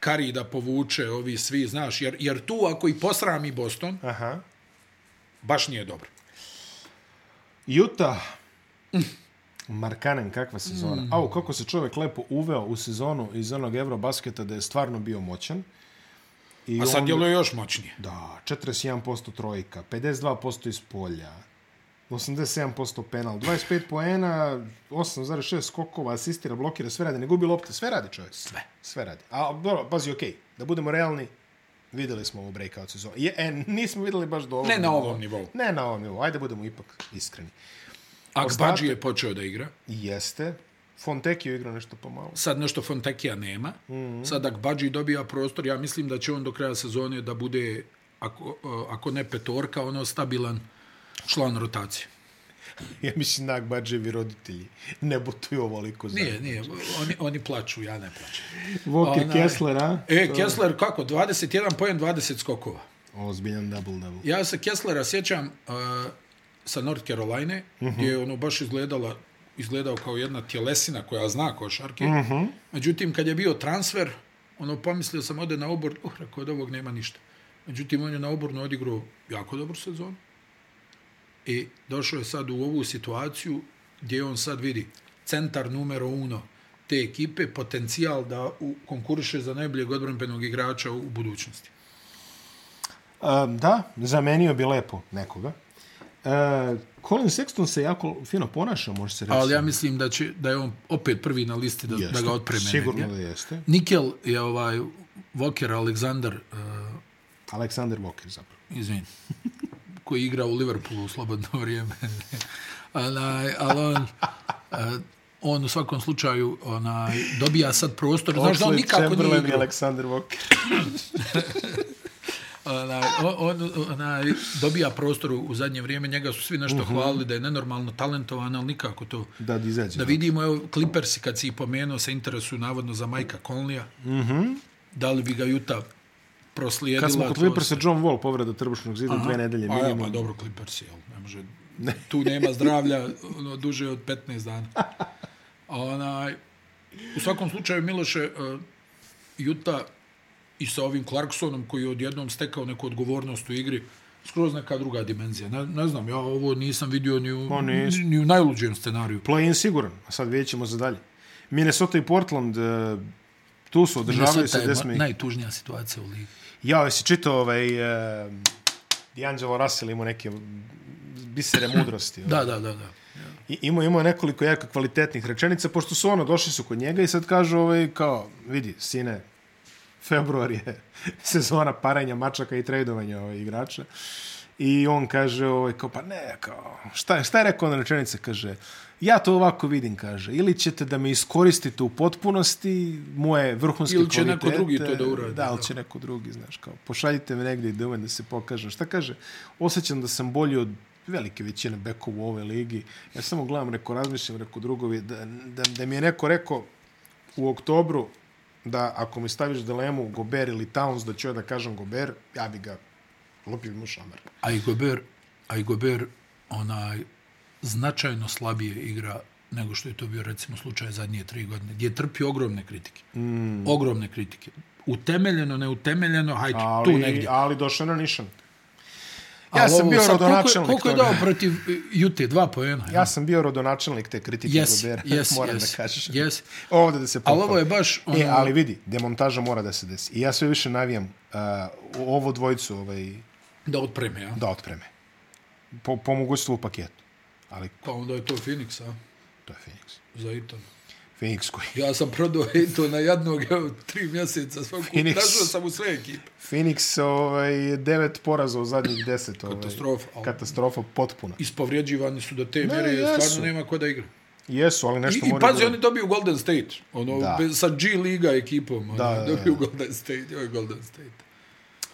Speaker 2: kari da povuče ovi svi, znaš, jer, jer tu ako i posrami Boston,
Speaker 1: Aha.
Speaker 2: baš nije dobro.
Speaker 1: Juta. Markanen, kakva sezona. Mm. Au, kako se čovjek lepo uveo u sezonu iz onog Eurobasketa da je stvarno bio moćan. I
Speaker 2: A sad
Speaker 1: on-
Speaker 2: djeluje još moćnije.
Speaker 1: Da, 41% trojka, 52% iz polja, 87% penal, 25 poena, 8,6 skokova, asistira, blokira, sve radi, ne gubi lopte, sve radi čovjek. Sve. Sve radi. A, dobro, pazi, okej, okay, da budemo realni, videli smo ovu breakout sezonu. Je, e, nismo videli baš do ovog
Speaker 2: Ne na
Speaker 1: nivoa.
Speaker 2: ovom nivou.
Speaker 1: Ne na ovom nivou, ajde budemo ipak iskreni.
Speaker 2: Akbadži je počeo da igra.
Speaker 1: Jeste, Fonteki je igrao nešto pomalo. (laughs)
Speaker 2: Sad nešto Fontekija nema. Mm
Speaker 1: Mhm.
Speaker 2: -hmm. Sad Akbadži dobija prostor. Ja mislim da će on do kraja sezone da bude, ako, e, ako ne petorka, ono stabilan član rotacije.
Speaker 1: Ja mislim da Agbađevi roditelji ne butuju ovoliko za...
Speaker 2: Nije, nije. Oni, oni plaču, ja ne plačem.
Speaker 1: Walker
Speaker 2: Onaj-
Speaker 1: Kessler, a?
Speaker 2: E, Kessler kako? 21 poen, 20 skokova.
Speaker 1: Ozbiljan double-double.
Speaker 2: Ja se Kesslera sjećam uh, sa North Carolina, uh -huh. gdje je ono baš izgledala, izgledao kao jedna tjelesina koja zna košarke. Uh -huh. Međutim, kad je bio transfer, ono pomislio sam ode na obor, uh, rekao od ovog nema ništa. Međutim, on je na obornu odigrao jako dobru sezonu i došao je sad u ovu situaciju gdje on sad vidi centar numero uno te ekipe, potencijal da u, konkuriše za najboljeg odbranbenog igrača u, u budućnosti.
Speaker 1: Um, da, zamenio bi lepo nekoga. Uh, Colin Sexton se jako fino ponaša, može se reći.
Speaker 2: Ali ja mislim da će da je on opet prvi na listi da, da ga otpreme.
Speaker 1: Sigurno
Speaker 2: negdje.
Speaker 1: da jeste.
Speaker 2: Nikel je ovaj Walker Alexander, uh,
Speaker 1: Alexander Walker zapravo.
Speaker 2: izvin, (laughs) koji igra u Liverpoolu u slobodno (laughs) vrijeme. onaj, ali on, uh, on u svakom slučaju onaj, dobija sad prostor. Znaš da on
Speaker 1: Oxlade
Speaker 2: nikako nije
Speaker 1: Chamberlain i
Speaker 2: igrao.
Speaker 1: Alexander Walker.
Speaker 2: Onaj, on, on onaj, dobija prostor u zadnje vrijeme. Njega su svi nešto
Speaker 1: Mhm.
Speaker 2: uh -huh. hvalili da je nenormalno talentovan, ali nikako to.
Speaker 1: Da, izađe.
Speaker 2: Da vidimo, evo, Clippersi, kad si ih pomenuo, se interesuju navodno za Majka Conleya. Mm -hmm. Da li bi ga Juta proslijedila?
Speaker 1: Mhm. Kad smo kod
Speaker 2: kroz-
Speaker 1: Clippersa, John Wall povreda trbušnog zida dve nedelje
Speaker 2: A, ja, pa
Speaker 1: minimum.
Speaker 2: dobro, Clippersi, jel? Ne može, tu
Speaker 1: (laughs)
Speaker 2: nema zdravlja ono, duže od 15 dana. A Onaj, u svakom slučaju, Miloše, uh, Juta i sa ovim Clarksonom koji je odjednom stekao neku odgovornost u igri, skroz neka druga dimenzija. Ne, ne znam, ja ovo nisam vidio ni u,
Speaker 1: Pa nisam.
Speaker 2: ni u najluđem scenariju.
Speaker 1: Play-in siguran, a sad vidjet ćemo za dalje. Minnesota i Portland, e, tu su održavaju
Speaker 2: Minnesota
Speaker 1: se
Speaker 2: je
Speaker 1: gdje
Speaker 2: ma-
Speaker 1: smo ih.
Speaker 2: najtužnija situacija u ligi.
Speaker 1: Ja, jesi čitao ovaj... E, D'Angelo Russell imao neke bisere mudrosti.
Speaker 2: Da, da, da, da.
Speaker 1: I, imao, imao je nekoliko jako kvalitetnih rečenica, pošto su ono, došli su kod njega i sad kažu ovaj, kao, vidi, sine, februar je (laughs) sezona parenja mačaka i trejdovanja ovaj, igrača. I on kaže, ovaj, kao, pa ne, kao, šta, je- šta je rekao na rečenice? Kaže, ja to ovako vidim, kaže, ili ćete da me iskoristite u potpunosti, moje vrhunske
Speaker 2: Ili će
Speaker 1: kvalitete.
Speaker 2: neko drugi to da uradi,
Speaker 1: Da, ali
Speaker 2: da.
Speaker 1: će neko drugi, znaš, kao, pošaljite me negdje da umem da se pokažem. Šta kaže? Osjećam da sam bolji od velike većine bekova u ove ligi. Ja samo gledam, reko, razmišljam, reko, drugovi, da, da, da mi je neko rekao u oktobru da ako mi staviš dilemu Gober ili Towns, da ću ja da kažem Gober, ja bi ga lupio bi mu šamar.
Speaker 2: A i Gober, a i Gober onaj, značajno slabije igra nego što je to bio recimo slučaj zadnje tri godine, gdje je trpio ogromne kritike. Mm. Ogromne kritike. Utemeljeno, neutemeljeno, hajde,
Speaker 1: Ali,
Speaker 2: tu negdje.
Speaker 1: ali došao je na nišan. Ja
Speaker 2: Ali
Speaker 1: sam
Speaker 2: ovo
Speaker 1: bio
Speaker 2: sad, koliko je-
Speaker 1: rodonačelnik
Speaker 2: Koliko je
Speaker 1: toga.
Speaker 2: dao protiv e, Jute? Dva pojena.
Speaker 1: Ja sam bio rodonačelnik te kritike
Speaker 2: Jesi,
Speaker 1: Gobera,
Speaker 2: jesi,
Speaker 1: (laughs) moram
Speaker 2: jesi,
Speaker 1: da kažeš.
Speaker 2: jesi.
Speaker 1: (laughs) Ovde da se
Speaker 2: Ali
Speaker 1: pohvalim.
Speaker 2: ovo je baš... Ono,
Speaker 1: E, ali vidi, demontaža mora da se desi. I ja sve više navijam uh, ovo dvojicu ovaj,
Speaker 2: Da otpreme, ja.
Speaker 1: da otpreme. Po, po mogućstvu u paketu. Ali
Speaker 2: Pa onda je to Phoenix, a?
Speaker 1: to je Phoenix.
Speaker 2: Za Eton.
Speaker 1: Phoenix koji?
Speaker 2: Ja sam prodao Eton na jednog, evo, tri mjeseca svaku.
Speaker 1: Phoenix.
Speaker 2: Našao sam u sve ekipe.
Speaker 1: Phoenix ovaj, devet poraza u zadnjih deset. Ovaj,
Speaker 2: Katastrofa, ali-
Speaker 1: Katastrofa potpuna.
Speaker 2: Ispovrijeđivani su do te mere,
Speaker 1: jesu.
Speaker 2: stvarno nema ko da igra.
Speaker 1: Jesu, ali
Speaker 2: I,
Speaker 1: nešto
Speaker 2: i
Speaker 1: mora...
Speaker 2: pazi,
Speaker 1: da-
Speaker 2: oni dobiju Golden State. Ono,
Speaker 1: Da.
Speaker 2: bez, sa G Liga ekipom. Ono,
Speaker 1: Da, da, da.
Speaker 2: dobiju Golden State. Ovo je Golden State.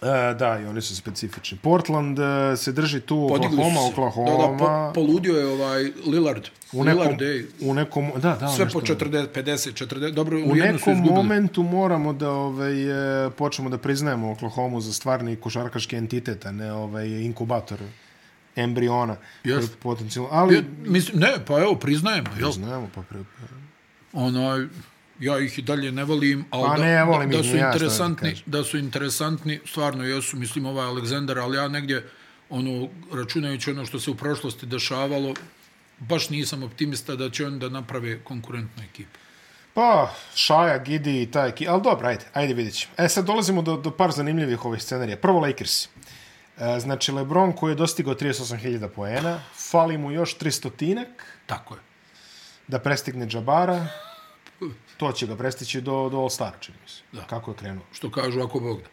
Speaker 1: E, da, i oni su specifični. Portland e, se drži tu,
Speaker 2: Podigli
Speaker 1: Oklahoma,
Speaker 2: su se.
Speaker 1: Oklahoma.
Speaker 2: Da, da, po, poludio je ovaj Lillard.
Speaker 1: u nekom,
Speaker 2: Lillard, ej,
Speaker 1: u nekom, da, da,
Speaker 2: sve
Speaker 1: nešto-
Speaker 2: po 40, 50, 40, dobro,
Speaker 1: U
Speaker 2: u jednu su
Speaker 1: nekom
Speaker 2: izgubili.
Speaker 1: momentu moramo da ovaj, e, počnemo da priznajemo Oklahoma za stvarni košarkaški entitet, a ne ovaj, inkubator embriona.
Speaker 2: Jeste.
Speaker 1: koji Potencijalno, ali...
Speaker 2: Ja, mislim, ne, pa evo, priznajemo, jel?
Speaker 1: Znamo, pa pre...
Speaker 2: Onaj, ja ih i dalje ne volim, ali
Speaker 1: Pa
Speaker 2: da,
Speaker 1: ne, ja volim
Speaker 2: da,
Speaker 1: ih,
Speaker 2: da su
Speaker 1: ni ja, šta da ti
Speaker 2: interesantni,
Speaker 1: kažem.
Speaker 2: da su interesantni, stvarno jesu, mislim, ovaj Aleksandar, ali ja negdje, ono, računajući ono što se u prošlosti dešavalo, baš nisam optimista da će oni da naprave konkurentnu ekipu.
Speaker 1: Pa, Šaja, Gidi i taj ki... Ali dobro, ajde, ajde vidjet ćemo. E, sad dolazimo do, do par zanimljivih ovih scenarija. Prvo Lakers. E, znači, Lebron koji je dostigao 38.000 poena, fali mu još 300-tinak,
Speaker 2: Tako je.
Speaker 1: da prestigne Džabara, to će ga prestići do, do All-Stara, čini mi se.
Speaker 2: Da.
Speaker 1: Kako je krenuo.
Speaker 2: Što kažu, ako Bog da.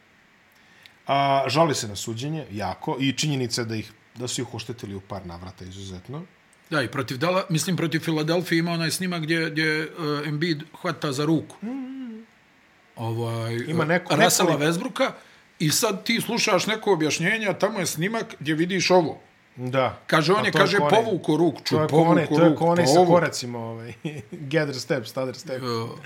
Speaker 1: A, žali se na suđenje, jako, i činjenica je da, ih, da su ih oštetili u par navrata izuzetno.
Speaker 2: Da, i protiv Dala, mislim, protiv Filadelfije ima onaj snimak gdje, gdje uh, Embiid hvata za ruku. Ovaj,
Speaker 1: Ima neko-
Speaker 2: Rasela
Speaker 1: nekoliko-
Speaker 2: Vesbruka i sad ti slušaš neko objašnjenje, a tamo je snimak gdje vidiš ovo.
Speaker 1: Da.
Speaker 2: Kaže, on
Speaker 1: A
Speaker 2: je,
Speaker 1: to je
Speaker 2: kaže,
Speaker 1: kone-
Speaker 2: povuku ruk, ču,
Speaker 1: To je
Speaker 2: povuku
Speaker 1: kone,
Speaker 2: ruk,
Speaker 1: to je kone sa
Speaker 2: povuku.
Speaker 1: koracima, ovaj. (laughs) gather steps, other step.
Speaker 2: Uh,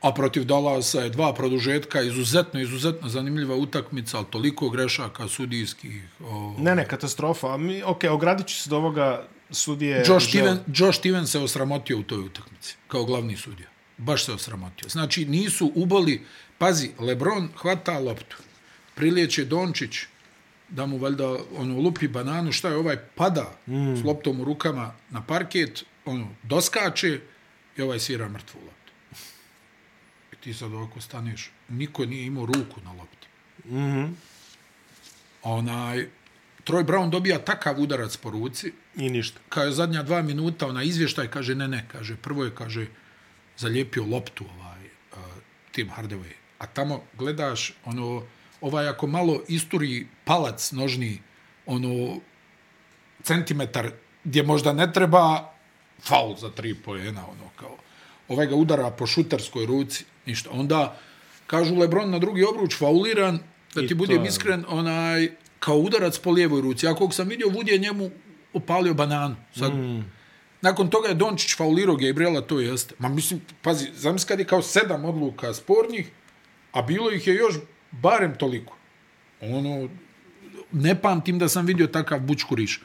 Speaker 2: A protiv Dalasa je dva produžetka, izuzetno, izuzetno zanimljiva utakmica, ali toliko grešaka sudijskih. Ovo.
Speaker 1: Ne, ne, katastrofa. A Mi, ok, ogradit ću se do ovoga sudije...
Speaker 2: Josh,
Speaker 1: Žel-
Speaker 2: Steven, Josh Steven se osramotio u toj utakmici, kao glavni sudija. Baš se osramotio. Znači, nisu uboli... Pazi, Lebron hvata loptu. Prilijeće Dončić da mu valjda ono, lupi bananu, šta je ovaj pada mm. s loptom u rukama na parket, ono, doskače i ovaj svira mrtvu loptu. I ti sad ovako staneš. Niko nije imao ruku na lopti. Mm -hmm. Onaj, Troy Brown dobija takav udarac po ruci,
Speaker 1: I ništa.
Speaker 2: kao zadnja dva minuta, ona izvještaj, kaže, ne, ne, kaže, prvo je, kaže, zalijepio loptu ovaj uh, Tim Hardaway. A tamo gledaš, ono, ovaj ako malo isturi palac nožni, ono, centimetar gdje možda ne treba, faul za tri pojena, ono, kao. Ovaj ga udara po šuterskoj ruci, ništa. Onda, kažu Lebron na drugi obruč, fauliran, da
Speaker 1: I
Speaker 2: ti
Speaker 1: to
Speaker 2: budem
Speaker 1: je- ono.
Speaker 2: iskren, onaj, kao udarac po lijevoj ruci. Ja kog sam vidio, Wood je njemu opalio bananu. Sad, mm. Nakon toga je Dončić faulirao Gabriela, to jeste. Ma mislim, pazi, zamisli kad je kao sedam odluka spornih, a bilo ih je još barem toliko. Ono, ne pamtim da sam vidio takav bučkuriš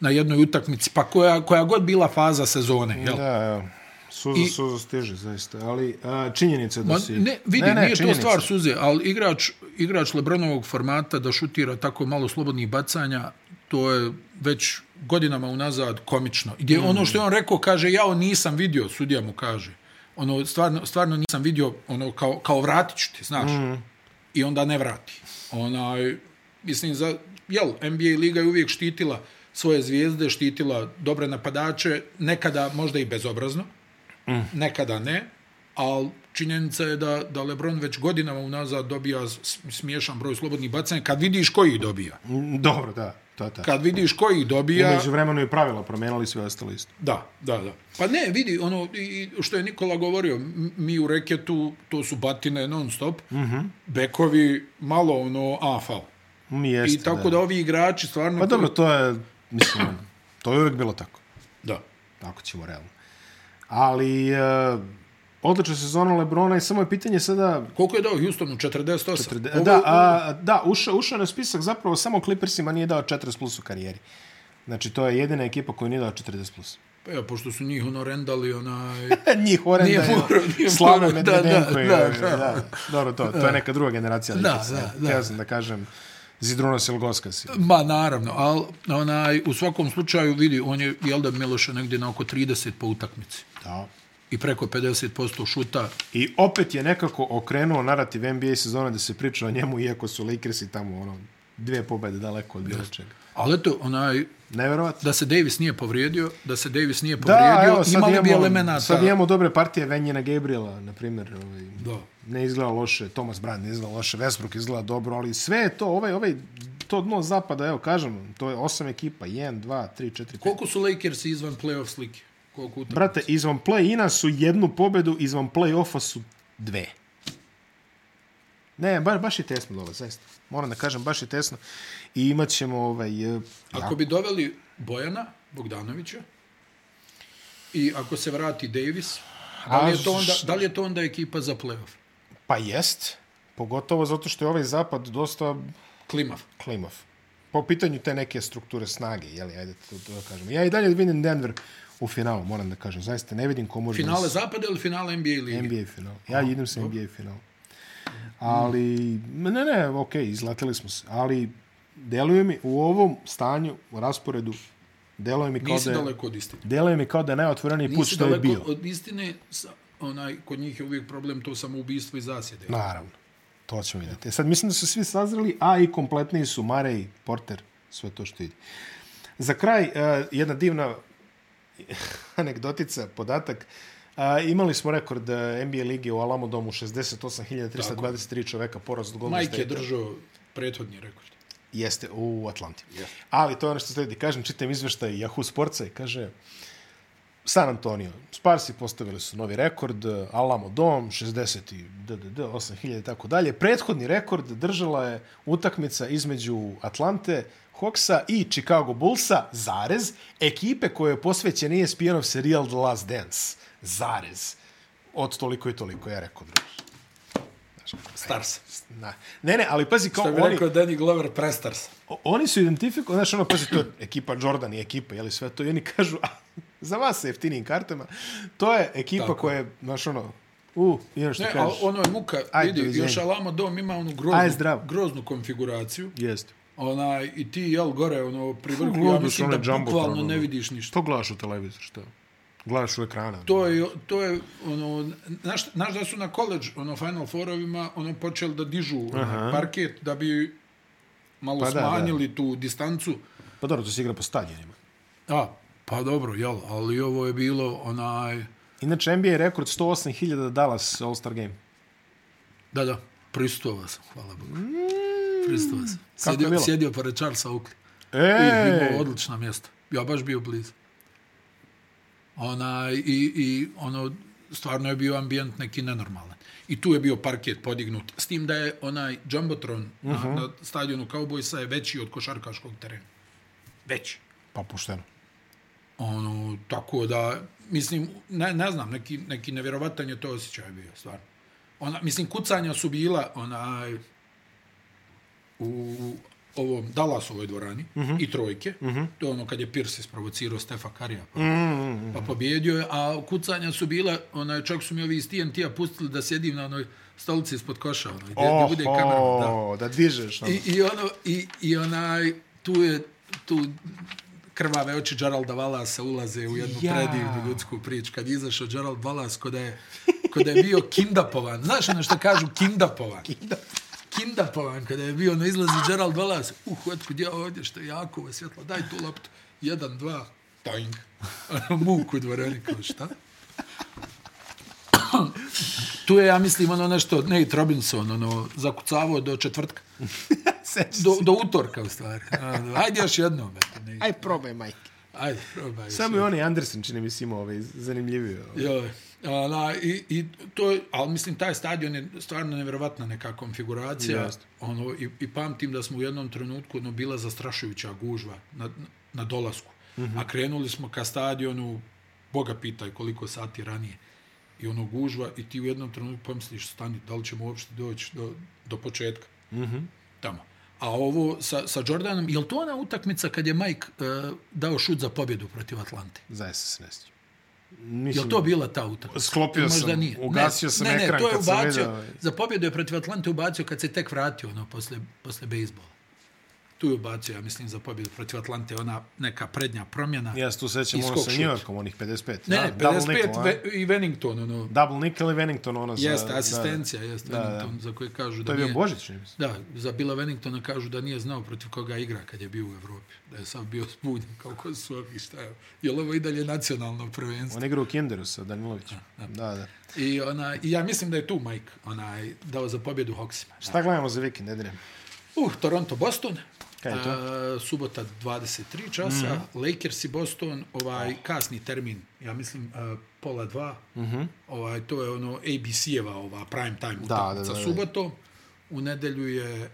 Speaker 2: na jednoj utakmici, pa koja, koja god bila faza sezone, jel?
Speaker 1: Da, evo. Suza, I...
Speaker 2: I-
Speaker 1: suza stiže, zaista. Ali a, činjenica je da
Speaker 2: Ma,
Speaker 1: si...
Speaker 2: ne, vidi, ne, ne, nije
Speaker 1: činjenica.
Speaker 2: to stvar suze, ali igrač, igrač Lebronovog formata da šutira tako malo slobodnih bacanja, to je već godinama unazad komično. Gdje mm. ono što je on rekao, kaže, jao nisam vidio, sudija mu kaže. Ono, stvarno, stvarno nisam vidio, ono, kao, kao vratit ću ti, znaš. Mm. I onda ne vrati. Onaj, mislim, za, jel, NBA liga je uvijek štitila svoje zvijezde, štitila dobre napadače, nekada možda i bezobrazno, mm. nekada ne, ali činjenica je da, da Lebron već godinama unazad dobija s- smiješan broj slobodnih bacanja, kad vidiš koji ih dobija.
Speaker 1: Mm, Dobro, da, to je tako.
Speaker 2: Kad vidiš koji ih dobija...
Speaker 1: Umeđu vremenu i pravila promijenili sve ostalo isto.
Speaker 2: Da, da, da. Pa ne, vidi, ono, i- i što je Nikola govorio, m- mi u reketu, to su batine non stop, mm
Speaker 1: Mhm.
Speaker 2: -hmm. bekovi malo, ono, afal.
Speaker 1: Mm, Jeste,
Speaker 2: I tako da. da ovi igrači stvarno...
Speaker 1: Pa dobro, to je, mislim, ono, to je uvijek bilo tako.
Speaker 2: Da.
Speaker 1: Tako ćemo realno. Ali, e, odlična sezona Lebrona i samo je pitanje sada...
Speaker 2: Koliko je dao Houstonu? 48?
Speaker 1: Trde,
Speaker 2: Ovo-
Speaker 1: da, a, da ušao, ušao je na spisak, zapravo samo Clippersima nije dao 40 plus u karijeri. Znači, to je jedina ekipa koja nije dao 40 plus. E,
Speaker 2: Pa ja, pošto su njih ono rendali,
Speaker 1: (laughs)
Speaker 2: onaj...
Speaker 1: Njih Horenda
Speaker 2: Nije
Speaker 1: je
Speaker 2: morao, nije
Speaker 1: Slava
Speaker 2: morao, da,
Speaker 1: Medvedenko
Speaker 2: da,
Speaker 1: i
Speaker 2: da,
Speaker 1: ovi,
Speaker 2: da.
Speaker 1: da. Dobro, to, to je neka druga generacija.
Speaker 2: Da,
Speaker 1: Lakers,
Speaker 2: da,
Speaker 1: ne.
Speaker 2: da.
Speaker 1: Htio sam da kažem Zidrunos ili Goskas.
Speaker 2: Ma, naravno, ali onaj, u svakom slučaju, vidi, on je, jel da, Miloša negdje na oko 30 po utakmici.
Speaker 1: Da.
Speaker 2: I preko 50% šuta.
Speaker 1: I opet je nekako okrenuo narativ NBA sezone da se priča o njemu, iako su Lakersi tamo ono, dvije pobjede daleko od bilo čega.
Speaker 2: Ali eto, onaj,
Speaker 1: Neverovatno.
Speaker 2: da se Davis nije povrijedio, da se Davis nije povrijedio, da, imali bi elemenata.
Speaker 1: sad imamo dobre partije Venjina Gabriela, na primjer. Ovaj,
Speaker 2: Da.
Speaker 1: ne izgleda loše, Thomas Brand ne izgleda loše, Westbrook izgleda dobro, ali sve je to, ovaj, ovaj, to dno zapada, evo kažem, to je osam ekipa, 1, 2, 3, 4, 5.
Speaker 2: Koliko su Lakers izvan playoff slike? Koliko utakmica?
Speaker 1: Brate, izvan play-ina su jednu pobedu, izvan play-offa su dve. Ne, ba, baš je tesno dole, zaista. Moram da kažem, baš je tesno. I imat ćemo ovaj... e,
Speaker 2: Ako
Speaker 1: jako-
Speaker 2: bi doveli Bojana Bogdanovića i ako se vrati Davis, da li je to
Speaker 1: A,
Speaker 2: onda,
Speaker 1: š-
Speaker 2: da li je to onda ekipa za playoff?
Speaker 1: Pa jest, pogotovo zato što je ovaj zapad dosta
Speaker 2: Klimav.
Speaker 1: klimav. Po pitanju te neke strukture snage, jeli, ajde to, to da kažem. Ja i dalje vidim Denver u finalu, moram da kažem. Zaista, ne vidim ko može... da
Speaker 2: Finale zapada ili finale NBA lige?
Speaker 1: NBA final. Ja idem sa NBA final. Ali, ne, ne, ok, izleteli smo se. Ali, deluje mi u ovom stanju, u rasporedu, deluje mi kao
Speaker 2: Nisi
Speaker 1: da je,
Speaker 2: daleko od istine.
Speaker 1: deluje mi kao da je najotvoreniji put
Speaker 2: Nisi
Speaker 1: što je
Speaker 2: daleko
Speaker 1: bio.
Speaker 2: od istine, sa- onaj, kod njih je uvijek problem to samoubistvo i zasjede.
Speaker 1: Naravno. To ćemo vidjeti. E Sad mislim da su svi sazreli, a i kompletniji su Marej, Porter, sve to što ide. Za kraj, eh, jedna divna (laughs) anegdotica, podatak. A, imali smo rekord eh, NBA lige u Alamo domu 68.323 čoveka, porast Golden
Speaker 2: Mike je
Speaker 1: State.
Speaker 2: držao prethodni rekord.
Speaker 1: Jeste, u Atlanti. Ali to je ono što sledi. Kažem, čitam izveštaj Yahoo Sportsa i kaže San Antonio, Sparsi postavili su novi rekord, Alamo Dom, 60 i DDD, 8000 i tako dalje. Prethodni rekord držala je utakmica između Atlante, Hawksa i Chicago Bullsa, zarez, ekipe koje je posvećen E ESPN-ov serijal The Last Dance, zarez. Od toliko i toliko, ja rekao, druž.
Speaker 2: Stars.
Speaker 1: Na. Ne, ne, ali pazi, kao
Speaker 2: Što bi
Speaker 1: oni...
Speaker 2: rekao Danny Glover, prestars.
Speaker 1: O- oni su identifikovali, znaš, ono, pazi, to je ekipa Jordan i ekipa, jeli sve to, i oni kažu, a, (laughs) za vas sa jeftinijim kartama, to je ekipa
Speaker 2: Tako.
Speaker 1: Tako. koja je, znaš, ono, u, i ono što
Speaker 2: Ne, ali
Speaker 1: kažeš.
Speaker 2: ono je muka,
Speaker 1: Ajde,
Speaker 2: vidi,
Speaker 1: doviđenja.
Speaker 2: još Alamo Dom ima onu
Speaker 1: Aj,
Speaker 2: groznu,
Speaker 1: zdravo.
Speaker 2: groznu konfiguraciju.
Speaker 1: Jeste.
Speaker 2: Onaj, i ti, jel, gore, ono, pri vrhu, ja
Speaker 1: Gledaš
Speaker 2: mislim
Speaker 1: onaj
Speaker 2: da
Speaker 1: jumbo
Speaker 2: bukvalno
Speaker 1: program.
Speaker 2: ne vidiš ništa.
Speaker 1: Što gledaš u televizor, što? Gledaš u ekrana.
Speaker 2: To je, to je, ono, znaš, znaš da su na koleđ, ono, Final Fourovima, ono, počeli da dižu ono, parket da bi malo
Speaker 1: Pa
Speaker 2: pa
Speaker 1: da,
Speaker 2: smanjili da, da. tu distancu.
Speaker 1: Pa dobro, to se igra po stadionima.
Speaker 2: A, pa dobro, jel, ali ovo je bilo, onaj,
Speaker 1: Inače, NBA je rekord 108.000 Dallas All-Star Game.
Speaker 2: da, da, pristova sam, hvala Bogu. Pristova sam.
Speaker 1: Mm. Kako je
Speaker 2: Sjedio,
Speaker 1: bilo?
Speaker 2: sjedio pored Charlesa Oakley. I
Speaker 1: E,
Speaker 2: imao odlična mjesta. Ja baš bio blizu. Ona, i, I ono, stvarno je bio ambijent neki nenormalan. I tu je bio parket podignut. S tim da je onaj Jumbotron uh
Speaker 1: Mhm.
Speaker 2: -huh. na, na stadionu Cowboysa je veći od košarkaškog terena. Veći.
Speaker 1: pa pušteno.
Speaker 2: Ono, tako da, mislim, ne, ne znam, neki, neki nevjerovatan je to osjećaj bio, stvarno. Ona, mislim, kucanja su bila onaj, u, u ovom Dallasovoj dvorani uh -huh. i trojke. Uh -huh. To je ono kad je Pierce isprovocirao Stefa Karija, pa, uh -huh. pa pobjedio je. A kucanja su bila, onaj, čak su mi ovi iz TNT-a pustili da sjedim na onoj stolici ispod koša, onaj, gdje, gdje bude kamera. Da.
Speaker 1: Oho, da dižeš. ono.
Speaker 2: I, i, ono, i, i onaj, tu je, tu krvave oči Geralda Valasa ulaze u jednu
Speaker 1: Ja.
Speaker 2: ja. predivnu ljudsku priču. Kad je izašao Gerald Valas, kod je, kod je bio kindapovan. Znaš ono što kažu kindapovan? Kindapovan, kada je bio na izlazi Gerald Velas, uh, otkud ja ovdje, što je Jakovo svjetlo, daj tu loptu, jedan, dva, toing. Ono, Muk u dvorani, kao šta? tu je, ja mislim, ono nešto, Nate Robinson, ono, zakucavao do četvrtka,
Speaker 1: Sećaš
Speaker 2: do, do utorka u stvari. Ono, Ajde još jednom, eto, Nate.
Speaker 3: Aj probaj, majke.
Speaker 2: Ajde, probaj. još
Speaker 1: Samo je onaj Anderson, čini mi se imao ovaj zanimljiviji. Ovaj.
Speaker 2: Joj. Ona, i, i to, je- ali mislim, taj stadion je stvarno nevjerovatna neka konfiguracija.
Speaker 1: Jeste.
Speaker 2: Ono, i, I pamtim da smo u jednom trenutku ono, bila zastrašujuća gužva na, na dolasku. Mm -hmm. A krenuli smo ka stadionu, Boga pitaj koliko sati ranije. I ono gužva i ti u jednom trenutku pomisliš, stani, da li ćemo uopšte doći do, do početka. Mm -hmm. Tamo. A ovo sa, sa Jordanom, je li to ona utakmica kad je Mike uh, dao šut za pobjedu protiv Atlante?
Speaker 1: Zaista se ne sjećam.
Speaker 2: Je li
Speaker 1: Mislim,
Speaker 2: to bila ta utakmica?
Speaker 1: Sklopio
Speaker 2: Možda
Speaker 1: sam,
Speaker 2: nije.
Speaker 1: ugasio
Speaker 2: ne,
Speaker 1: sam
Speaker 2: ne,
Speaker 1: ekran
Speaker 2: ne, to je
Speaker 1: kad sam
Speaker 2: ubacio,
Speaker 1: vidio.
Speaker 2: Za pobjedu je protiv Atlante ubacio kad se tek vratio ono, posle, posle bejsbola. Tu je ubacio, ja mislim, za pobjedu protiv Atlante, ona neka prednja promjena.
Speaker 1: Ja se tu sećam ono
Speaker 2: Iskok
Speaker 1: sa
Speaker 2: šut.
Speaker 1: New Yorkom, onih 55.
Speaker 2: ne,
Speaker 1: da,
Speaker 2: ne,
Speaker 1: Double
Speaker 2: 55
Speaker 1: nickel, a?
Speaker 2: ve, i Wennington, ono,
Speaker 1: Double nickel i Wennington, ono za...
Speaker 2: jeste,
Speaker 1: da,
Speaker 2: asistencija, jeste, Wennington, za koje kažu
Speaker 1: To
Speaker 2: da
Speaker 1: je bio
Speaker 2: nije...
Speaker 1: Božić, čini mi se.
Speaker 2: Da, za Bila Wenningtona kažu da nije znao protiv koga igra kad je bio u Evropi. Da je sad bio zbunjen, kao ko su ovi, šta je. Jel ovo i dalje nacionalno prvenstvo?
Speaker 1: On igra u Kinderu sa Danilovićem. Da, da.
Speaker 2: I, ona, I ja mislim da je tu Mike onaj, dao za pobjedu Hawksima.
Speaker 1: Šta gledamo za vikend, Edine?
Speaker 2: Uh, Toronto, Boston.
Speaker 1: Kaj je to? Mhm.
Speaker 2: E, subota 23 časa, mm -hmm. Lakers i Boston, ovaj kasni termin, ja mislim e, pola dva. Mm -hmm. ovaj, to je ono ABC-eva ova prime time
Speaker 1: Mhm. da,
Speaker 2: utakmica
Speaker 1: da, da.
Speaker 2: subotom. U nedelju je e,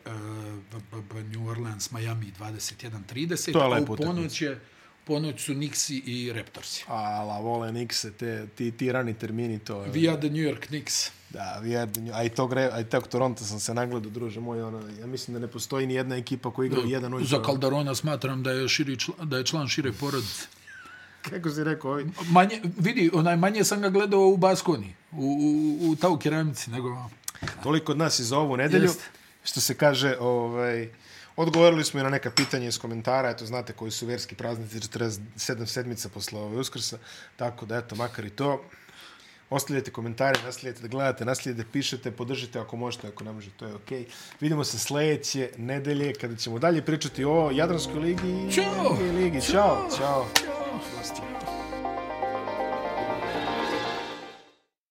Speaker 2: b- b- b- New Orleans, Miami 21.30,
Speaker 1: To je
Speaker 2: a
Speaker 1: lepa
Speaker 2: u
Speaker 1: utakmica.
Speaker 2: ponoć je ponoć su Nixi i Raptorsi.
Speaker 1: A, la vole Nikse, te, ti, ti rani termini, to je...
Speaker 2: Via the New York Knicks.
Speaker 1: Da, vjerno. A i tog, re, a i tog Toronto sam se nagledao, druže moj, ono, ja mislim da ne postoji ni jedna ekipa koja igra u jedan ujutro.
Speaker 2: Za Calderona smatram da je, širi, čl- da je član šire porodice.
Speaker 1: Kako si rekao, ovi?
Speaker 2: Manje, vidi, onaj manje sam ga gledao u Baskoni, u, u, u tau keramici, nego vam.
Speaker 1: Toliko od nas i za ovu nedelju.
Speaker 2: Jeste.
Speaker 1: Što se kaže, ovaj, odgovorili smo i na neka pitanja iz komentara, eto, znate koji su verski praznici, 47 sedmica posle ove uskrsa, tako da, eto, makar i to. Ostavljajte komentare, nastavljajte da gledate, nastavljajte da pišete, podržite ako možete, ako ne možete, to je okej. Okay. Vidimo se sljedeće nedelje kada ćemo dalje pričati o Jadranskoj ligi i
Speaker 2: Ćao!
Speaker 1: NBA ligi. Ćao! Ćao!